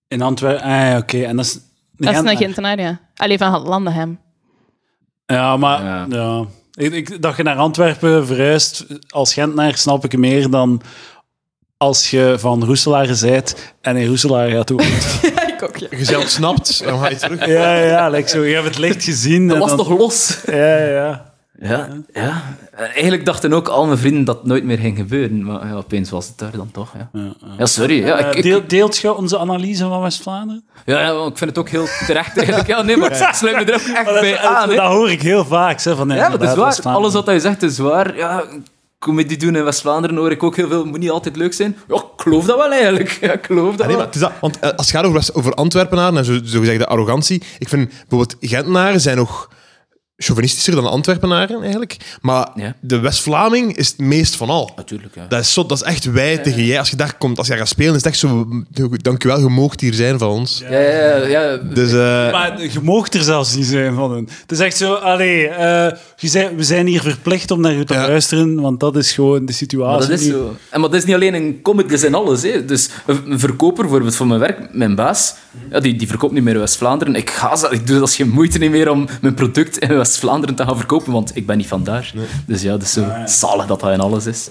In Antwerpen, ah, ja, oké. En dat is Dat is Gent- een Gentenaar, ja. Allee, van Landenham. Ja, maar Ja. ja. Ik, ik, dat je naar Antwerpen verhuist als Gentenaar snap ik meer dan als je van Roeselaar zijt en in Roeselaar gaat ook. ik ook, ja. Je zelf snapt, dan ga je terug. ja, ja, like zo, je hebt het licht gezien. Dat en was dan- toch los? Ja, ja. Ja, ja. Eh, Eigenlijk dachten ook al mijn vrienden dat het nooit meer ging gebeuren, maar ja, opeens was het daar dan toch. Ja, ja sorry. Ja, ik, Eh, ik- deel- deelt je onze analyse van West-Vlaanderen? ja, ja, maar ik vind het ook heel terecht eigenlijk. Ja, nee, maar ik sluit Oh, me er ook echt Maar bij aan. hè. dat hoor ik heel vaak. Hè, van, Ja, maar dat is waar. West-Vlaanderen. Alles wat hij zegt is waar. Ja, comedy doen in West-Vlaanderen hoor ik ook heel veel. Moet niet altijd leuk zijn. Ja, ik geloof dat wel eigenlijk. Ja, ik geloof dat Ah, nee, maar wel. het is dat, want eh, als het gaat over, West- over Antwerpenaren en zo, zo gezegde arrogantie, ik vind bijvoorbeeld Gentenaren zijn nog chauvinistischer dan Antwerpenaren eigenlijk, maar Ja. de West-Vlaming is het meest van al. Natuurlijk, ja. Dat is, zot, dat is echt wij tegen jij. Als je daar komt, als je gaat spelen, is het echt zo... Dankjewel, je moogt hier zijn van ons. Ja, ja, ja, ja. Dus eh, Maar je moogt er zelfs niet zijn van hun. Het is echt zo, allee, eh, je zei, we zijn hier verplicht om naar u te Ja. luisteren, want dat is gewoon de situatie. Maar dat is die- zo. En maar dat is niet alleen een comedy, dat is in alles. Hè. Dus een een verkoper bijvoorbeeld van mijn werk, mijn baas, Mhm. ja, die, die verkoopt niet meer in West-Vlaanderen. Ik, ga, ze- ik doe dat geen moeite niet meer om mijn product in West-Vlaanderen te gaan verkopen, want ik ben niet van daar. Dus ja, dat is zo zalig dat dat in alles is.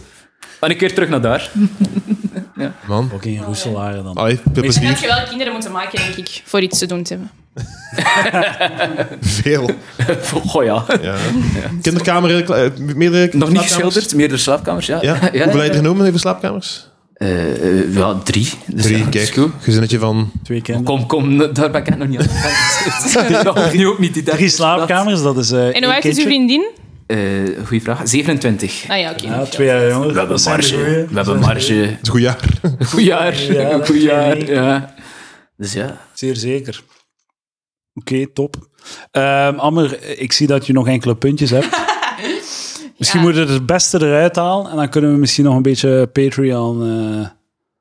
En een keer terug naar daar. Mhm. man, Ook in Roeselaren Ah. dan. allee, veel Dan had plezier. je wel kinderen moeten maken, denk ik, voor iets te doen te hebben. Veel. Oh, Goh ja. Ja. Kinderkamer, eh, meerdere Nog niet slaapkamers? geschilderd, meerdere slaapkamers, ja. Ja? Hoeveel heb je er genomen, even slaapkamers? Eh, eh, ja, drie. Dus ja, Drie, dat is kijk. goed. Gezinnetje van... Twee kinderen. Kom, kom, daar ben ik echt nog niet aan. gegaan. Ja, opnieuw ook niet die derde Drie slaapkamers, dat is eh En hoe één oud is uw kindje. vriendin? Eh, goeie vraag. 27. Ah ja, oké. Ja, twee jaar jonger. We hebben Dat zijn de marge. goeie. We hebben marge. Het is een goed jaar. Goed jaar. Ja, dat Goed is jaar. niet. Ja. Dus ja. Zeer zeker. Oké, top. Ehm, Ammer, ik zie dat je nog enkele puntjes hebt. Misschien Ja. moeten we het beste eruit halen en dan kunnen we misschien nog een beetje Patreon... eh,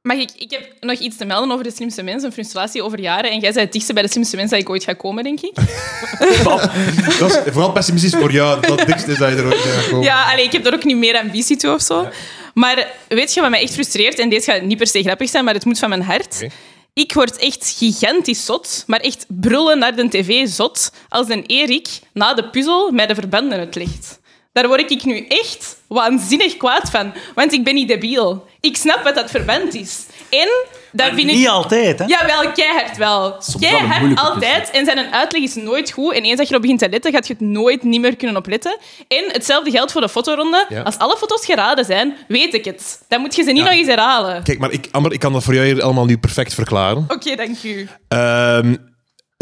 Mag ik, ik heb nog iets te melden over de slimste mens, een frustratie over jaren. En jij bent het dichtste bij de slimste mens dat ik ooit ga komen, denk ik. Dat is vooral pessimistisch voor jou. Dat het dikste is dat je er ooit gaat komen. Ja, allee, ik heb er ook niet meer ambitie toe of zo. Maar weet je wat mij echt frustreert? En deze gaat niet per se grappig zijn, maar het moet van mijn hart. Oké. Ik word echt gigantisch zot, maar echt brullen naar de tv zot, als een Erik na de puzzel mij de verbanden uitlegt. Daar word ik nu echt waanzinnig kwaad van, want ik ben niet debiel. Ik snap wat dat verband is. En dat vind ik... Niet altijd, hè? Jawel, keihard wel. Soms wel een Keihard moeilijke altijd. En zijn uitleg is nooit goed. En eens dat je erop begint te letten, gaat je het nooit niet meer kunnen opletten. En hetzelfde geldt voor de fotoronde. Ja. Als alle foto's geraden zijn, weet ik het. Dan moet je ze niet nog eens herhalen. Kijk, maar ik, Amber, ik kan dat voor jou hier allemaal nu perfect verklaren. Oké, dank u. Ehm,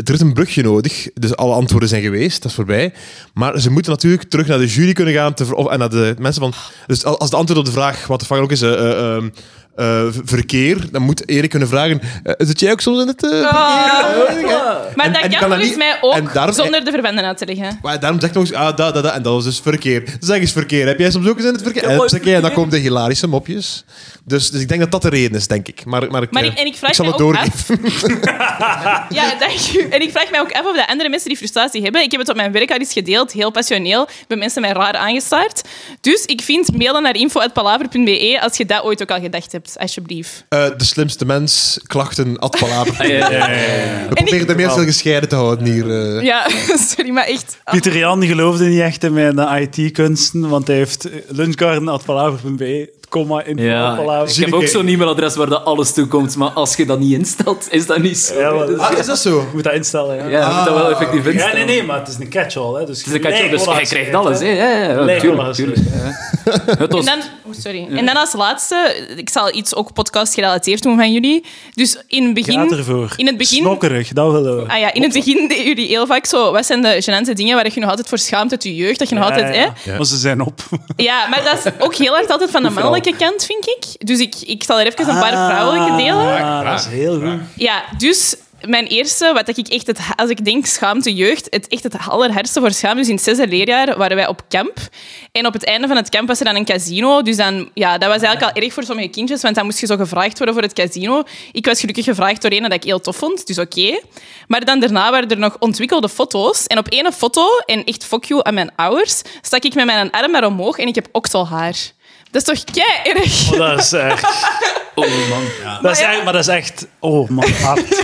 er is een brugje nodig, dus alle antwoorden zijn geweest, dat is voorbij. Maar ze moeten natuurlijk terug naar de jury kunnen gaan te ver- of, en naar de mensen van... Dus al- als de antwoord op de vraag, wat de fuck ook is, eh, eh, ehm, eh, v- verkeer, dan moet Erik kunnen vragen, eh, zit jij ook soms in het eh, verkeer? Ah, Maar En- dat en kan kan dat volgens niet- mij en ook daarom- zonder de verbanden uit te leggen. Maar daarom zegt nog eens, ah, dat, dat, dat, en dat was dus verkeer. Zeg eens verkeer, heb jij soms ook eens in het verkeer? En, dan zeg je, en dan komen de hilarische mopjes. Dus, dus ik denk dat dat de reden is, denk ik. Maar, maar, ik, Maar eh, ik, en ik vraag zal mij het ook doorgeven. af... Ja, dank u. En ik vraag mij ook af of de andere mensen die frustratie hebben. Ik heb het op mijn werk al eens gedeeld, heel passioneel. Ik ben mensen mij raar aangestaard. Dus ik vind mailen naar info.palaver.be als je dat ooit ook al gedacht hebt, alsjeblieft. Eh, de slimste mens, klachten, at Ah, palaver. Ja, ja, ja. We proberen de meestal gescheiden te houden hier. eh. Ja, sorry, maar echt. Pieter Jan geloofde niet echt in mijn eh, IT-kunsten, want hij heeft eh, lunchgarden.palaver.be, het comma in Ja, palaver. ik heb ook zo'n e-mailadres waar dat alles toe komt, maar als je dat niet instelt, is dat niet zo. Ja, wel. Dus Ah, is dat zo? Je moet dat instellen, ja. ja, je moet dat wel effectief Ah. Ja, instellen. nee, nee, maar het is een catch-all. Hè, dus Dus, ik had je, dus jij krijgt alles, hè? Ja, ja, ja, Lijkt wel tuurlijk, eens tuurlijk. ja. Het En was dan, oh, sorry. En dan als laatste, ik zal iets ook podcast gerelateerd doen van jullie. Dus in het begin... Gaat ervoor. In het begin... Snokkerig, dat willen we. Ah ja, in het begin deden jullie heel vaak zo... Wat zijn de genante dingen waar je nog altijd voor schaamt uit je jeugd? Dat je nog altijd... Hè? Ja. Maar ze zijn op. Ja, maar dat is ook heel hard altijd van de Overal. mannelijke kant, vind ik. Dus ik, ik zal er even een paar vrouwelijke delen. Ah, dat is heel goed. Ja, dus mijn eerste, wat ik echt, het, als ik denk schaamte jeugd, het echt het allerhardste voor schaamte. Dus in het zesde leerjaar waren wij op camp. En op het einde van het camp was er dan een casino. Dus dan, ja, dat was eigenlijk al erg voor sommige kindjes, want dan moest je zo gevraagd worden voor het casino. Ik was gelukkig gevraagd door een dat ik heel tof vond, dus oké. Maar dan daarna waren er nog ontwikkelde foto's. En op ene foto, en echt fuck you aan mijn ouders, stak ik met mijn arm naar omhoog en ik heb okselhaar. Dat is toch kei erg? Maar dat is echt... Oh man. Dat is ja. echt, maar dat is echt... Oh, man. hard.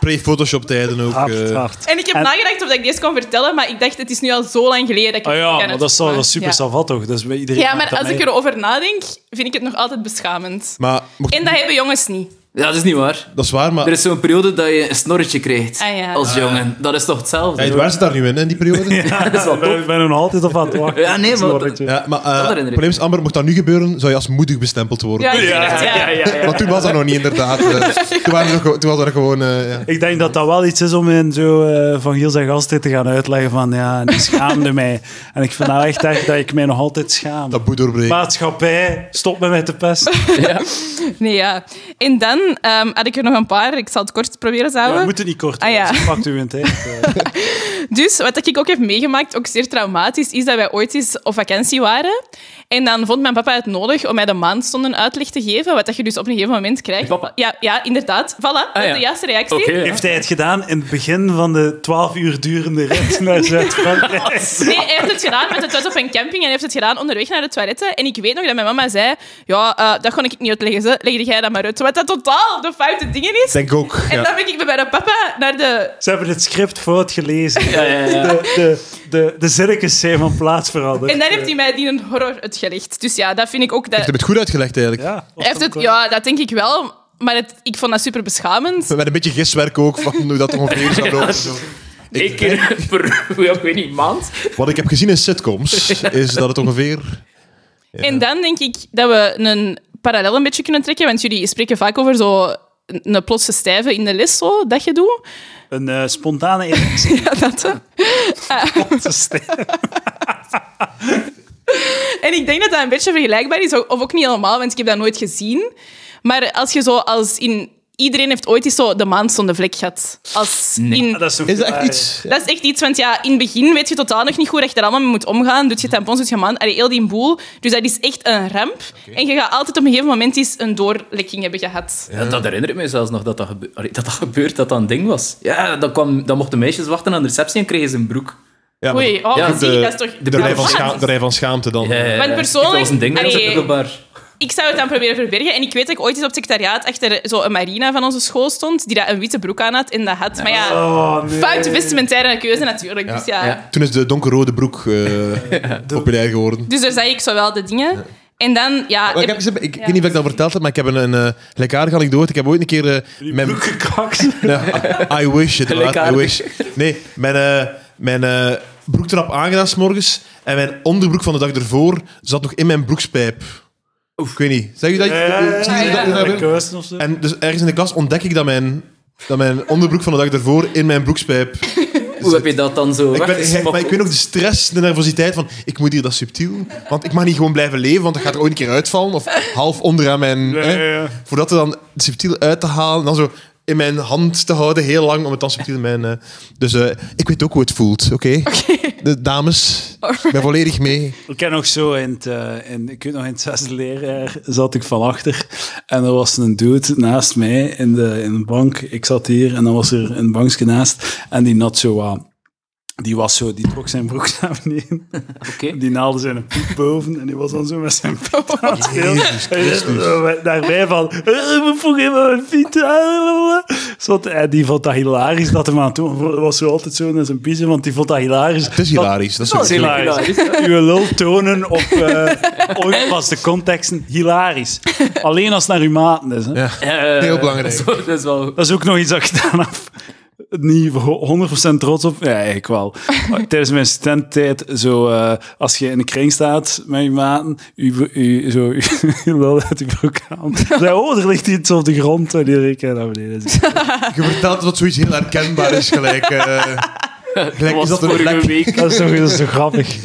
pre- Pre-Photoshop-tijden ook. Hard, eh. hard. En ik heb En- nagedacht of ik deze kon vertellen, maar ik dacht, het is nu al zo lang geleden dat ik Ah het ja, kan maar dat is, zo- dat is super uitzoeken. Ja. savat toch? Dus bij iedereen Ja, maakt maar dat als ik mee. erover nadenk, vind ik het nog altijd beschamend. Maar, mocht- En dat hebben jongens niet. Ja, dat is niet waar. dat is waar, maar Er is zo'n periode dat je een snorretje krijgt Ah, ja. als jongen. Dat is toch hetzelfde? ja, het waar zit daar nu in, in die periode? ja. dat is wel Ik ben, tof. ik ben er nog altijd op aan het wachten. Ja, nee, maar- Dat is wel echt- maar eh, herinner ik het probleem is, Amber, mocht dat nu gebeuren, zou je als moedig bestempeld worden. Ja, ik dacht, ja. Maar toen was dat nog niet, inderdaad. Eh, toen, waren we nog, toen was dat nog gewoon... eh, ja. Ik denk dat dat wel iets is om in zo eh, van Giel zijn gasten te gaan uitleggen van ja, die schaamde mij. En ik vind nou echt echt dat ik mij nog altijd schaam. Dat boet doorbreken. Maatschappij, stop met mij te pesten. Nee, ja. En dan ehm, had ik er nog een paar. Ik zal het kort proberen te Ja, houden. we moeten niet kort Ah, doen, ja. anders pakt u een tijd. eh. Dus wat ik ook heb meegemaakt, ook zeer traumatisch, is dat wij ooit eens op vakantie waren. En dan vond mijn papa het nodig om mij de maandstonden uitleg te geven, wat dat je dus op een gegeven moment krijgt. Papa? Ja, ja, inderdaad. Voilà, Ah, dat is ja. de juiste reactie. Oké, ja. Heeft hij het gedaan in het begin van de 12 uur durende rit naar Zuid-Frankrijk? Nee, hij heeft het gedaan, want het was op een camping en hij heeft het gedaan onderweg naar de toiletten. En ik weet nog dat mijn mama zei, ja, eh, dat kon ik niet uitleggen, ze. legde jij dat maar uit. Wat dat totaal de foute dingen is. Denk ook. En Ja. dan ben ik bij mijn papa naar de... Ze hebben het script fout gelezen. Ja, ja, ja. De, de, de, de zinnetjes zijn van plaats veranderd. En dan heeft hij mij die een horror uitgelegd. Dus ja, dat vind ik ook... Dat... Je hebt het goed uitgelegd, eigenlijk. Ja, was Hij heeft dat het, ja, dat denk ik wel. Maar het, ik vond dat super beschamend. Met een beetje giswerk ook, van hoe dat ongeveer zou lopen. Zo. Eén keer per, ja, ik weet niet, maand. Wat ik heb gezien in sitcoms, is dat het ongeveer... En dan denk ik dat we een parallel een beetje kunnen trekken. Want jullie spreken vaak over zo een een plotse stijve in de les, zo, dat je doet. Een eh, spontane erectie. Ja, dat, hè. En ik denk dat dat een beetje vergelijkbaar is, of ook niet helemaal, want ik heb dat nooit gezien. Maar als je zo als in... Iedereen heeft ooit eens zo de maandstonden vlek gehad. Als in... dat is, een Is dat echt vraag. iets? Dat is echt iets, want ja, in het begin weet je totaal nog niet goed dat je er allemaal mee moet omgaan. Doet je tampons, doet je man, allee, heel die boel. Dus dat is echt een ramp. En je gaat altijd op een gegeven moment eens een doorlekking hebben gehad. Ja, dat herinner ik mij zelfs nog, dat dat, gebe- Allee, dat dat gebeurt, dat dat een ding was. Ja, dan, kwam, dan mochten meisjes wachten aan de receptie en kregen ze een broek. Ja, maar- Oei, oh, Ja, zie, de- dat is toch... De rij van, Ja. scha- de rij van schaamte dan. Eh, Maar persoonlijk- Dat was een ding, Allee. middelbaar. Ik zou het dan proberen verbergen. En ik weet dat ik ooit eens op het secretariaat achter zo'n Marina van onze school stond, die daar een witte broek aan had en dat had. Maar ja, Oh, nee. foute vestimentaire keuze natuurlijk. Dus ja... Ja. Toen is de donkerrode broek eh, populair geworden. Dus daar zei ik zowel de dingen. En dan, ja... Maar ik, heb, ik, ik weet niet of ik dat verteld heb, maar ik heb een, een eh, gelijkaardige anekdote. Ik heb ooit een keer... eh, Die mijn, broek gekakt. Ja, I wish, het waar. I Gelijkaardig. wish. Nee, mijn, eh, mijn eh, broektrap aangedaan s'morgens en mijn onderbroek van de dag ervoor zat nog in mijn broekspijp. Oef. Ik weet niet. Zeg je dat? Ja, ja, ja. Zie je dat- Ja, dat- de kousen of zo. En dus ergens in de klas ontdek ik dat mijn, dat mijn onderbroek van de dag ervoor in mijn broekspijp... Hoe heb je dat dan zo Ik, ben, weggesmokkeld? maar ik weet ook de stress, de nervositeit van ik moet hier dat subtiel, want ik mag niet gewoon blijven leven, want dat gaat er ooit een keer uitvallen of half onderaan mijn... Ja, hè. ja, ja. Voordat het dan subtiel uit te halen, dan zo in mijn hand te houden, heel lang, om het dan subtiel in mijn... eh, dus eh, ik weet ook hoe het voelt, oké? De dames, ik ben volledig mee. Ik ken nog zo in het, eh, in, ik weet nog in het zesde leerjaar zat ik van achter en er was een dude naast mij in de, in de bank. Ik zat hier en dan was er een bankje naast en die nat zo aan. Die was zo, die trok zijn broek naar beneden. Oké. Die naalde zijn piep boven en die was dan zo met zijn piep aan het spelen. En zo met- Daarbij van, "Eh, ik moet vroeg even mijn fiets. Zot, en die vond dat hilarisch dat hem aan toe was zo altijd zo in zijn piezen, want die vond dat hilarisch. Het is hilarisch. Dat is Dat is subtiel. hilarisch. Uw lul tonen op eh ongepaste contexten, hilarisch. Alleen als het naar uw maten is. Hè. Ja. Eh, Heel belangrijk. zo, dat is wel... Dat is ook nog iets dat ik gedaan heb. Niet voor 100% trots op. Ja, eigenlijk wel. Maar Tijdens mijn studententijd, zo, eh, als je in de kring staat met je maten, je, je, zo, je lul uit je broek aan. Zeg, oh, er ligt iets op de grond. En die reek naar beneden. Je vertelt dat zoiets heel herkenbaar is, gelijk... eh, gelijk was is dat een vorige vlek. week. Dat is toch, dat is toch grappig.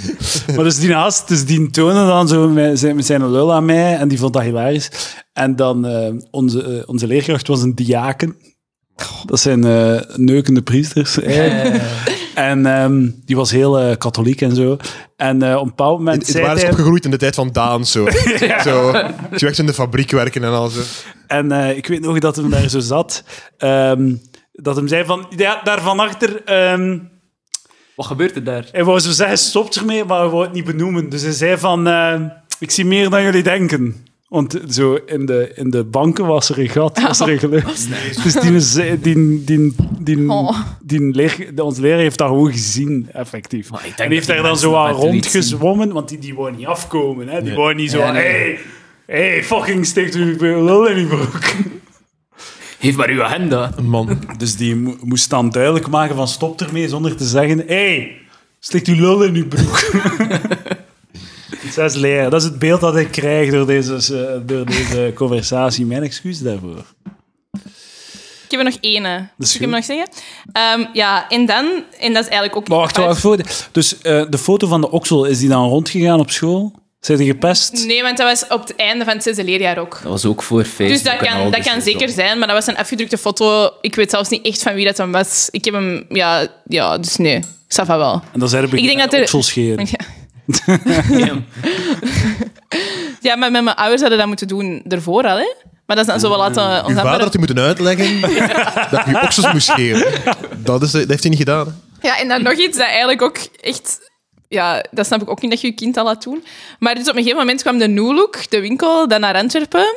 Maar dus die naast, dus die tonen dan zo met zijn, met zijn lul aan mij en die vond dat hilarisch. En dan eh, onze, eh, onze leerkracht was een diaken. Dat zijn eh, neukende priesters. eigenlijk. En ehm, die was heel eh, katholiek en zo. En eh, op een bepaald moment Het zei waar is hij- opgegroeid in de tijd van Daan, zo. zo. Zo echt in de fabriek werken en al zo. En eh, ik weet nog dat hem daar zo zat. ehm, dat hem zei van, ja, daar van achter... ehm, Wat gebeurt er daar? Hij wou zo zeggen, stop ermee, maar hij wou het niet benoemen. Dus hij zei van, eh, ik zie meer dan jullie denken. Want zo in de, in de banken was er een gat, was er een geluid. Dus die, ze- die, die, die, Oh. die leer, de- onze leraar heeft dat gewoon gezien, effectief. Maar ik denk En heeft dat daar die dan mensen zo aan dat echt niet rondgezwommen, want die, die wou niet afkomen. Hè? Die Nee. wou niet zo Ja, van, nee. hey, hey, fucking steekt u uw lul in uw broek. Geef maar uw agenda. Man, Dus die mo- moest dan duidelijk maken van stop ermee, zonder te zeggen, hey, steekt uw lul in uw broek. Zes leren. Dat is het beeld dat ik krijg door deze, eh, door deze conversatie. Mijn excuus daarvoor. Ik heb er nog één. hè. Dus ik heb goed. hem nog zeggen. Ehm, ja, en dan, en dat is eigenlijk ook. Maar wacht, wacht, wacht. Dus eh, de foto van de oksel, is die dan rondgegaan op school? Zijn die gepest? Nee, want dat was op het einde van het zesde leerjaar ook. Dat was ook voor Facebook. Dus dat en kan, al, dat dus kan is wel- zeker zijn, maar dat was een afgedrukte foto. Ik weet zelfs niet echt van wie dat dan was. Ik heb hem, ja, ja dus nee, Safa wel. En dan zijn er Ik denk dat er- okselscheren. Ja. Ja. ja, maar met mijn ouders hadden dat moeten doen ervoor al, hè? Maar dat is dan zo wel laten. Eh, uw ons dan vader verder- had u moeten uitleggen dat u oksels moest scheren. Dat, is, dat heeft hij niet gedaan. hè. Ja, en dan nog iets dat eigenlijk ook echt... Ja, dat snap ik ook niet dat je je kind dat laat doen. Maar dus op een gegeven moment kwam de New Look, de winkel, dan naar Antwerpen.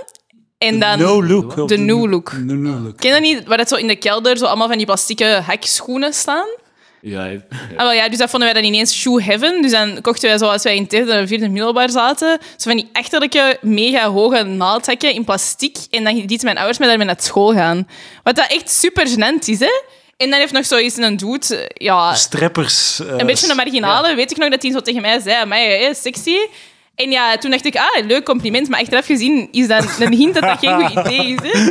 En dan... No look. De new look. De no look. Ken je dat niet? Waar dat zo in de kelder zo allemaal van die plastieke hakschoenen staan? Ja, ja. Ah, wel, ja, dus dat vonden wij dan ineens shoe heaven. Dus dan kochten wij, zoals wij in het derde en vierde middelbaar zaten, zo van die achterlijke, mega hoge naaldhekken in plastic. En dan lieten mijn ouders mij daarmee naar school gaan. Wat dat echt super gênant is, hè? En dan heeft nog zoiets een dude... eh, Ja, Strippers. eh, een beetje een marginale. Weet ik nog dat hij zo tegen mij zei, mij hè, sexy. En ja, toen dacht ik, ah, leuk compliment. Maar achteraf gezien is dat een hint dat dat geen goed idee is. Hè?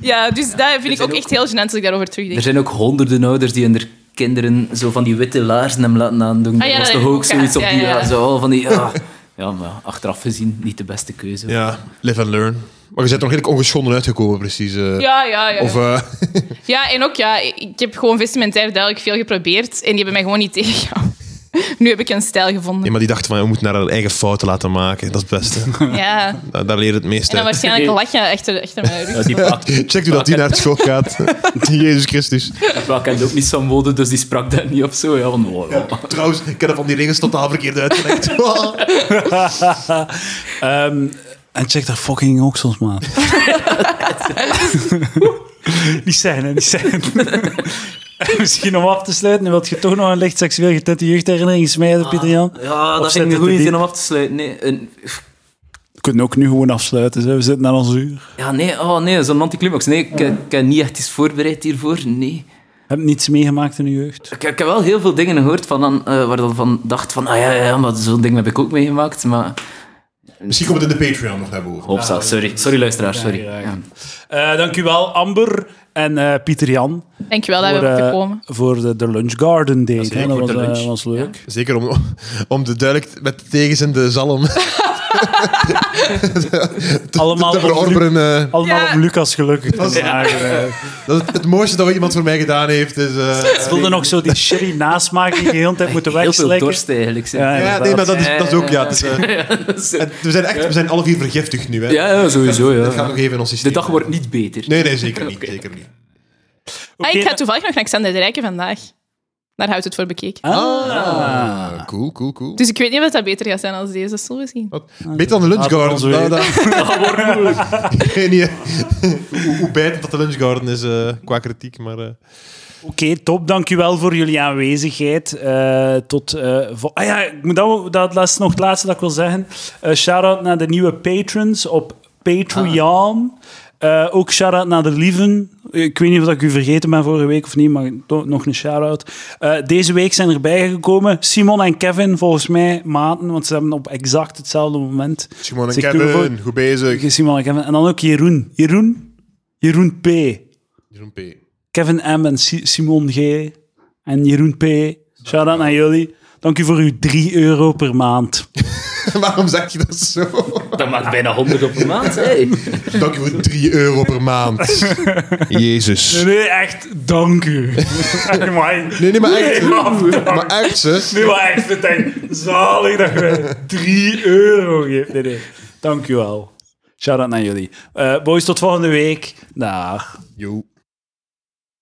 Ja, dus dat vind ik ook echt heel gênant als ik daarover terugdenk. Er zijn ook honderden ouders die hun kinderen zo van die witte laarzen hem laten aandoen. Ah, ja, dat was dat toch is ook ook, ja. zoiets op Ja, die... ja, ja. Ja, zo, van die ah. ja, maar achteraf gezien niet de beste keuze. Ja, live and learn. Maar je bent er nog redelijk ongeschonden uitgekomen, precies. eh. Ja, ja, ja. Of, eh, Ja, en ook ja, ik ik heb gewoon vestimentair duidelijk veel geprobeerd en die hebben mij gewoon niet tegengehouden. Nu heb ik een stijl nee, gevonden. maar die dachten van, we moeten naar haar eigen fouten laten maken. Dat is het beste. Ja. daar, daar leer je het meest En dan uit. waarschijnlijk lach je achter, achter mijn rug. Ja, die Paak, Check u dat die naar het school gaat. Jezus Christus. Paak kent ook niet zo'n mode, dus die sprak daar niet op zo. Ja, van, oh, ja. Trouwens, ik heb dat van die regels totaal verkeerd uitgelegd. Ehm, en check daar fucking oksels, man. niet zijn, hè, niet zijn. En Misschien om af te sluiten, wil je toch nog een licht seksueel getinte jeugdherinnering smijden, Pieter Jan? Ja, Of dat zit vind ik dit een goede te zin diep? om af te sluiten. Nee, een- We kunnen ook nu gewoon afsluiten, hè. we zitten aan ons uur. ja, nee, oh, nee zo'n anticlimax. Nee, ik, ik heb niet echt iets voorbereid hiervoor. Nee. Heb je niets meegemaakt in je jeugd? Ik, ik heb wel heel veel dingen gehoord van, dan, eh, waar dan van dacht van, ah ja, ja, ja, maar zo'n ding heb ik ook meegemaakt. Maar, Misschien komt het in de Patreon nog naar boven. Hopsa, sorry. Sorry, luisteraars, sorry. Ja, Ja, ja, ja. Eh dankjewel, Amber en eh, Pieter Jan. Dankjewel dat we voor, hebben eh, gekomen. voor de, de Lunch Garden Date. Zeker, hè. Dat voor was, de eh, lunch. was leuk. Zeker om, om de duidelijk met tegenzin de zalm Allemaal, te om, Lu- verorberen. eh. allemaal Ja. om Lucas gelukkig te is- maken. eh. dat is het mooiste dat ooit iemand voor mij gedaan heeft. Dus, eh, Ik voelde nog zo die sherry nasmaak die je de hele tijd moeten Heel veel wegslikken. dorst eigenlijk. zeg. Ja, ja, nee, maar dat is, dat is ook... Ja, het is, eh, Ja, en we zijn echt, we zijn alle vier vergiftigd nu. Hè. ja, ja, sowieso. Dat gaat Ja. nog even in ons De systeem. dag wordt niet beter. Nee, nee, zeker niet. Zeker niet. Ah, ik Oké, ga toevallig nog naar Xander de Rijken vandaag. Daar houdt het voor bekeken. Ah, cool, cool, cool. Dus ik weet niet of dat beter gaat zijn als deze, zullen we zien. Wat? Beter dan de lunch Laten we ons garden. weer- Dat, dat... Geen idee eh. hoe, hoe bijtend dat de lunch garden is eh, qua kritiek, maar... eh, Oké, top. Dankjewel voor jullie aanwezigheid. Eh, tot... eh, vol- ah ja, ik moet dat, dat is nog het laatste dat ik wil zeggen. Eh shout-out naar de nieuwe patrons op Patreon. Eh, ook shout-out naar de lieven. Ik weet niet of ik u vergeten ben vorige week of niet, maar to- nog een shout-out. Eh, deze week zijn erbij gekomen Simon en Kevin, volgens mij maten, want ze hebben op exact hetzelfde moment. Simon en zich toegevoegd. Kevin, goed bezig. Simon en Kevin. En dan ook Jeroen. Jeroen? Jeroen P. Jeroen P. Kevin M. en Si- Simon G. En Jeroen P. Shout-out naar jullie. Dank u voor uw 3 euro per maand. Waarom zeg je dat zo? Dat maakt bijna 100 op een maand. Hey. Dank je voor 3 euro per maand. Jezus. Nee, echt, dank u. Amai. Nee, nee, maar echt. Nee, maar bedankt. maar echt, zus. Nee, maar echt, Martijn, zalig dat je mij 3 euro geeft. Nee, nee. Dank u wel. Shout-out naar jullie. Eh, boys, tot volgende week. Dag. Yo.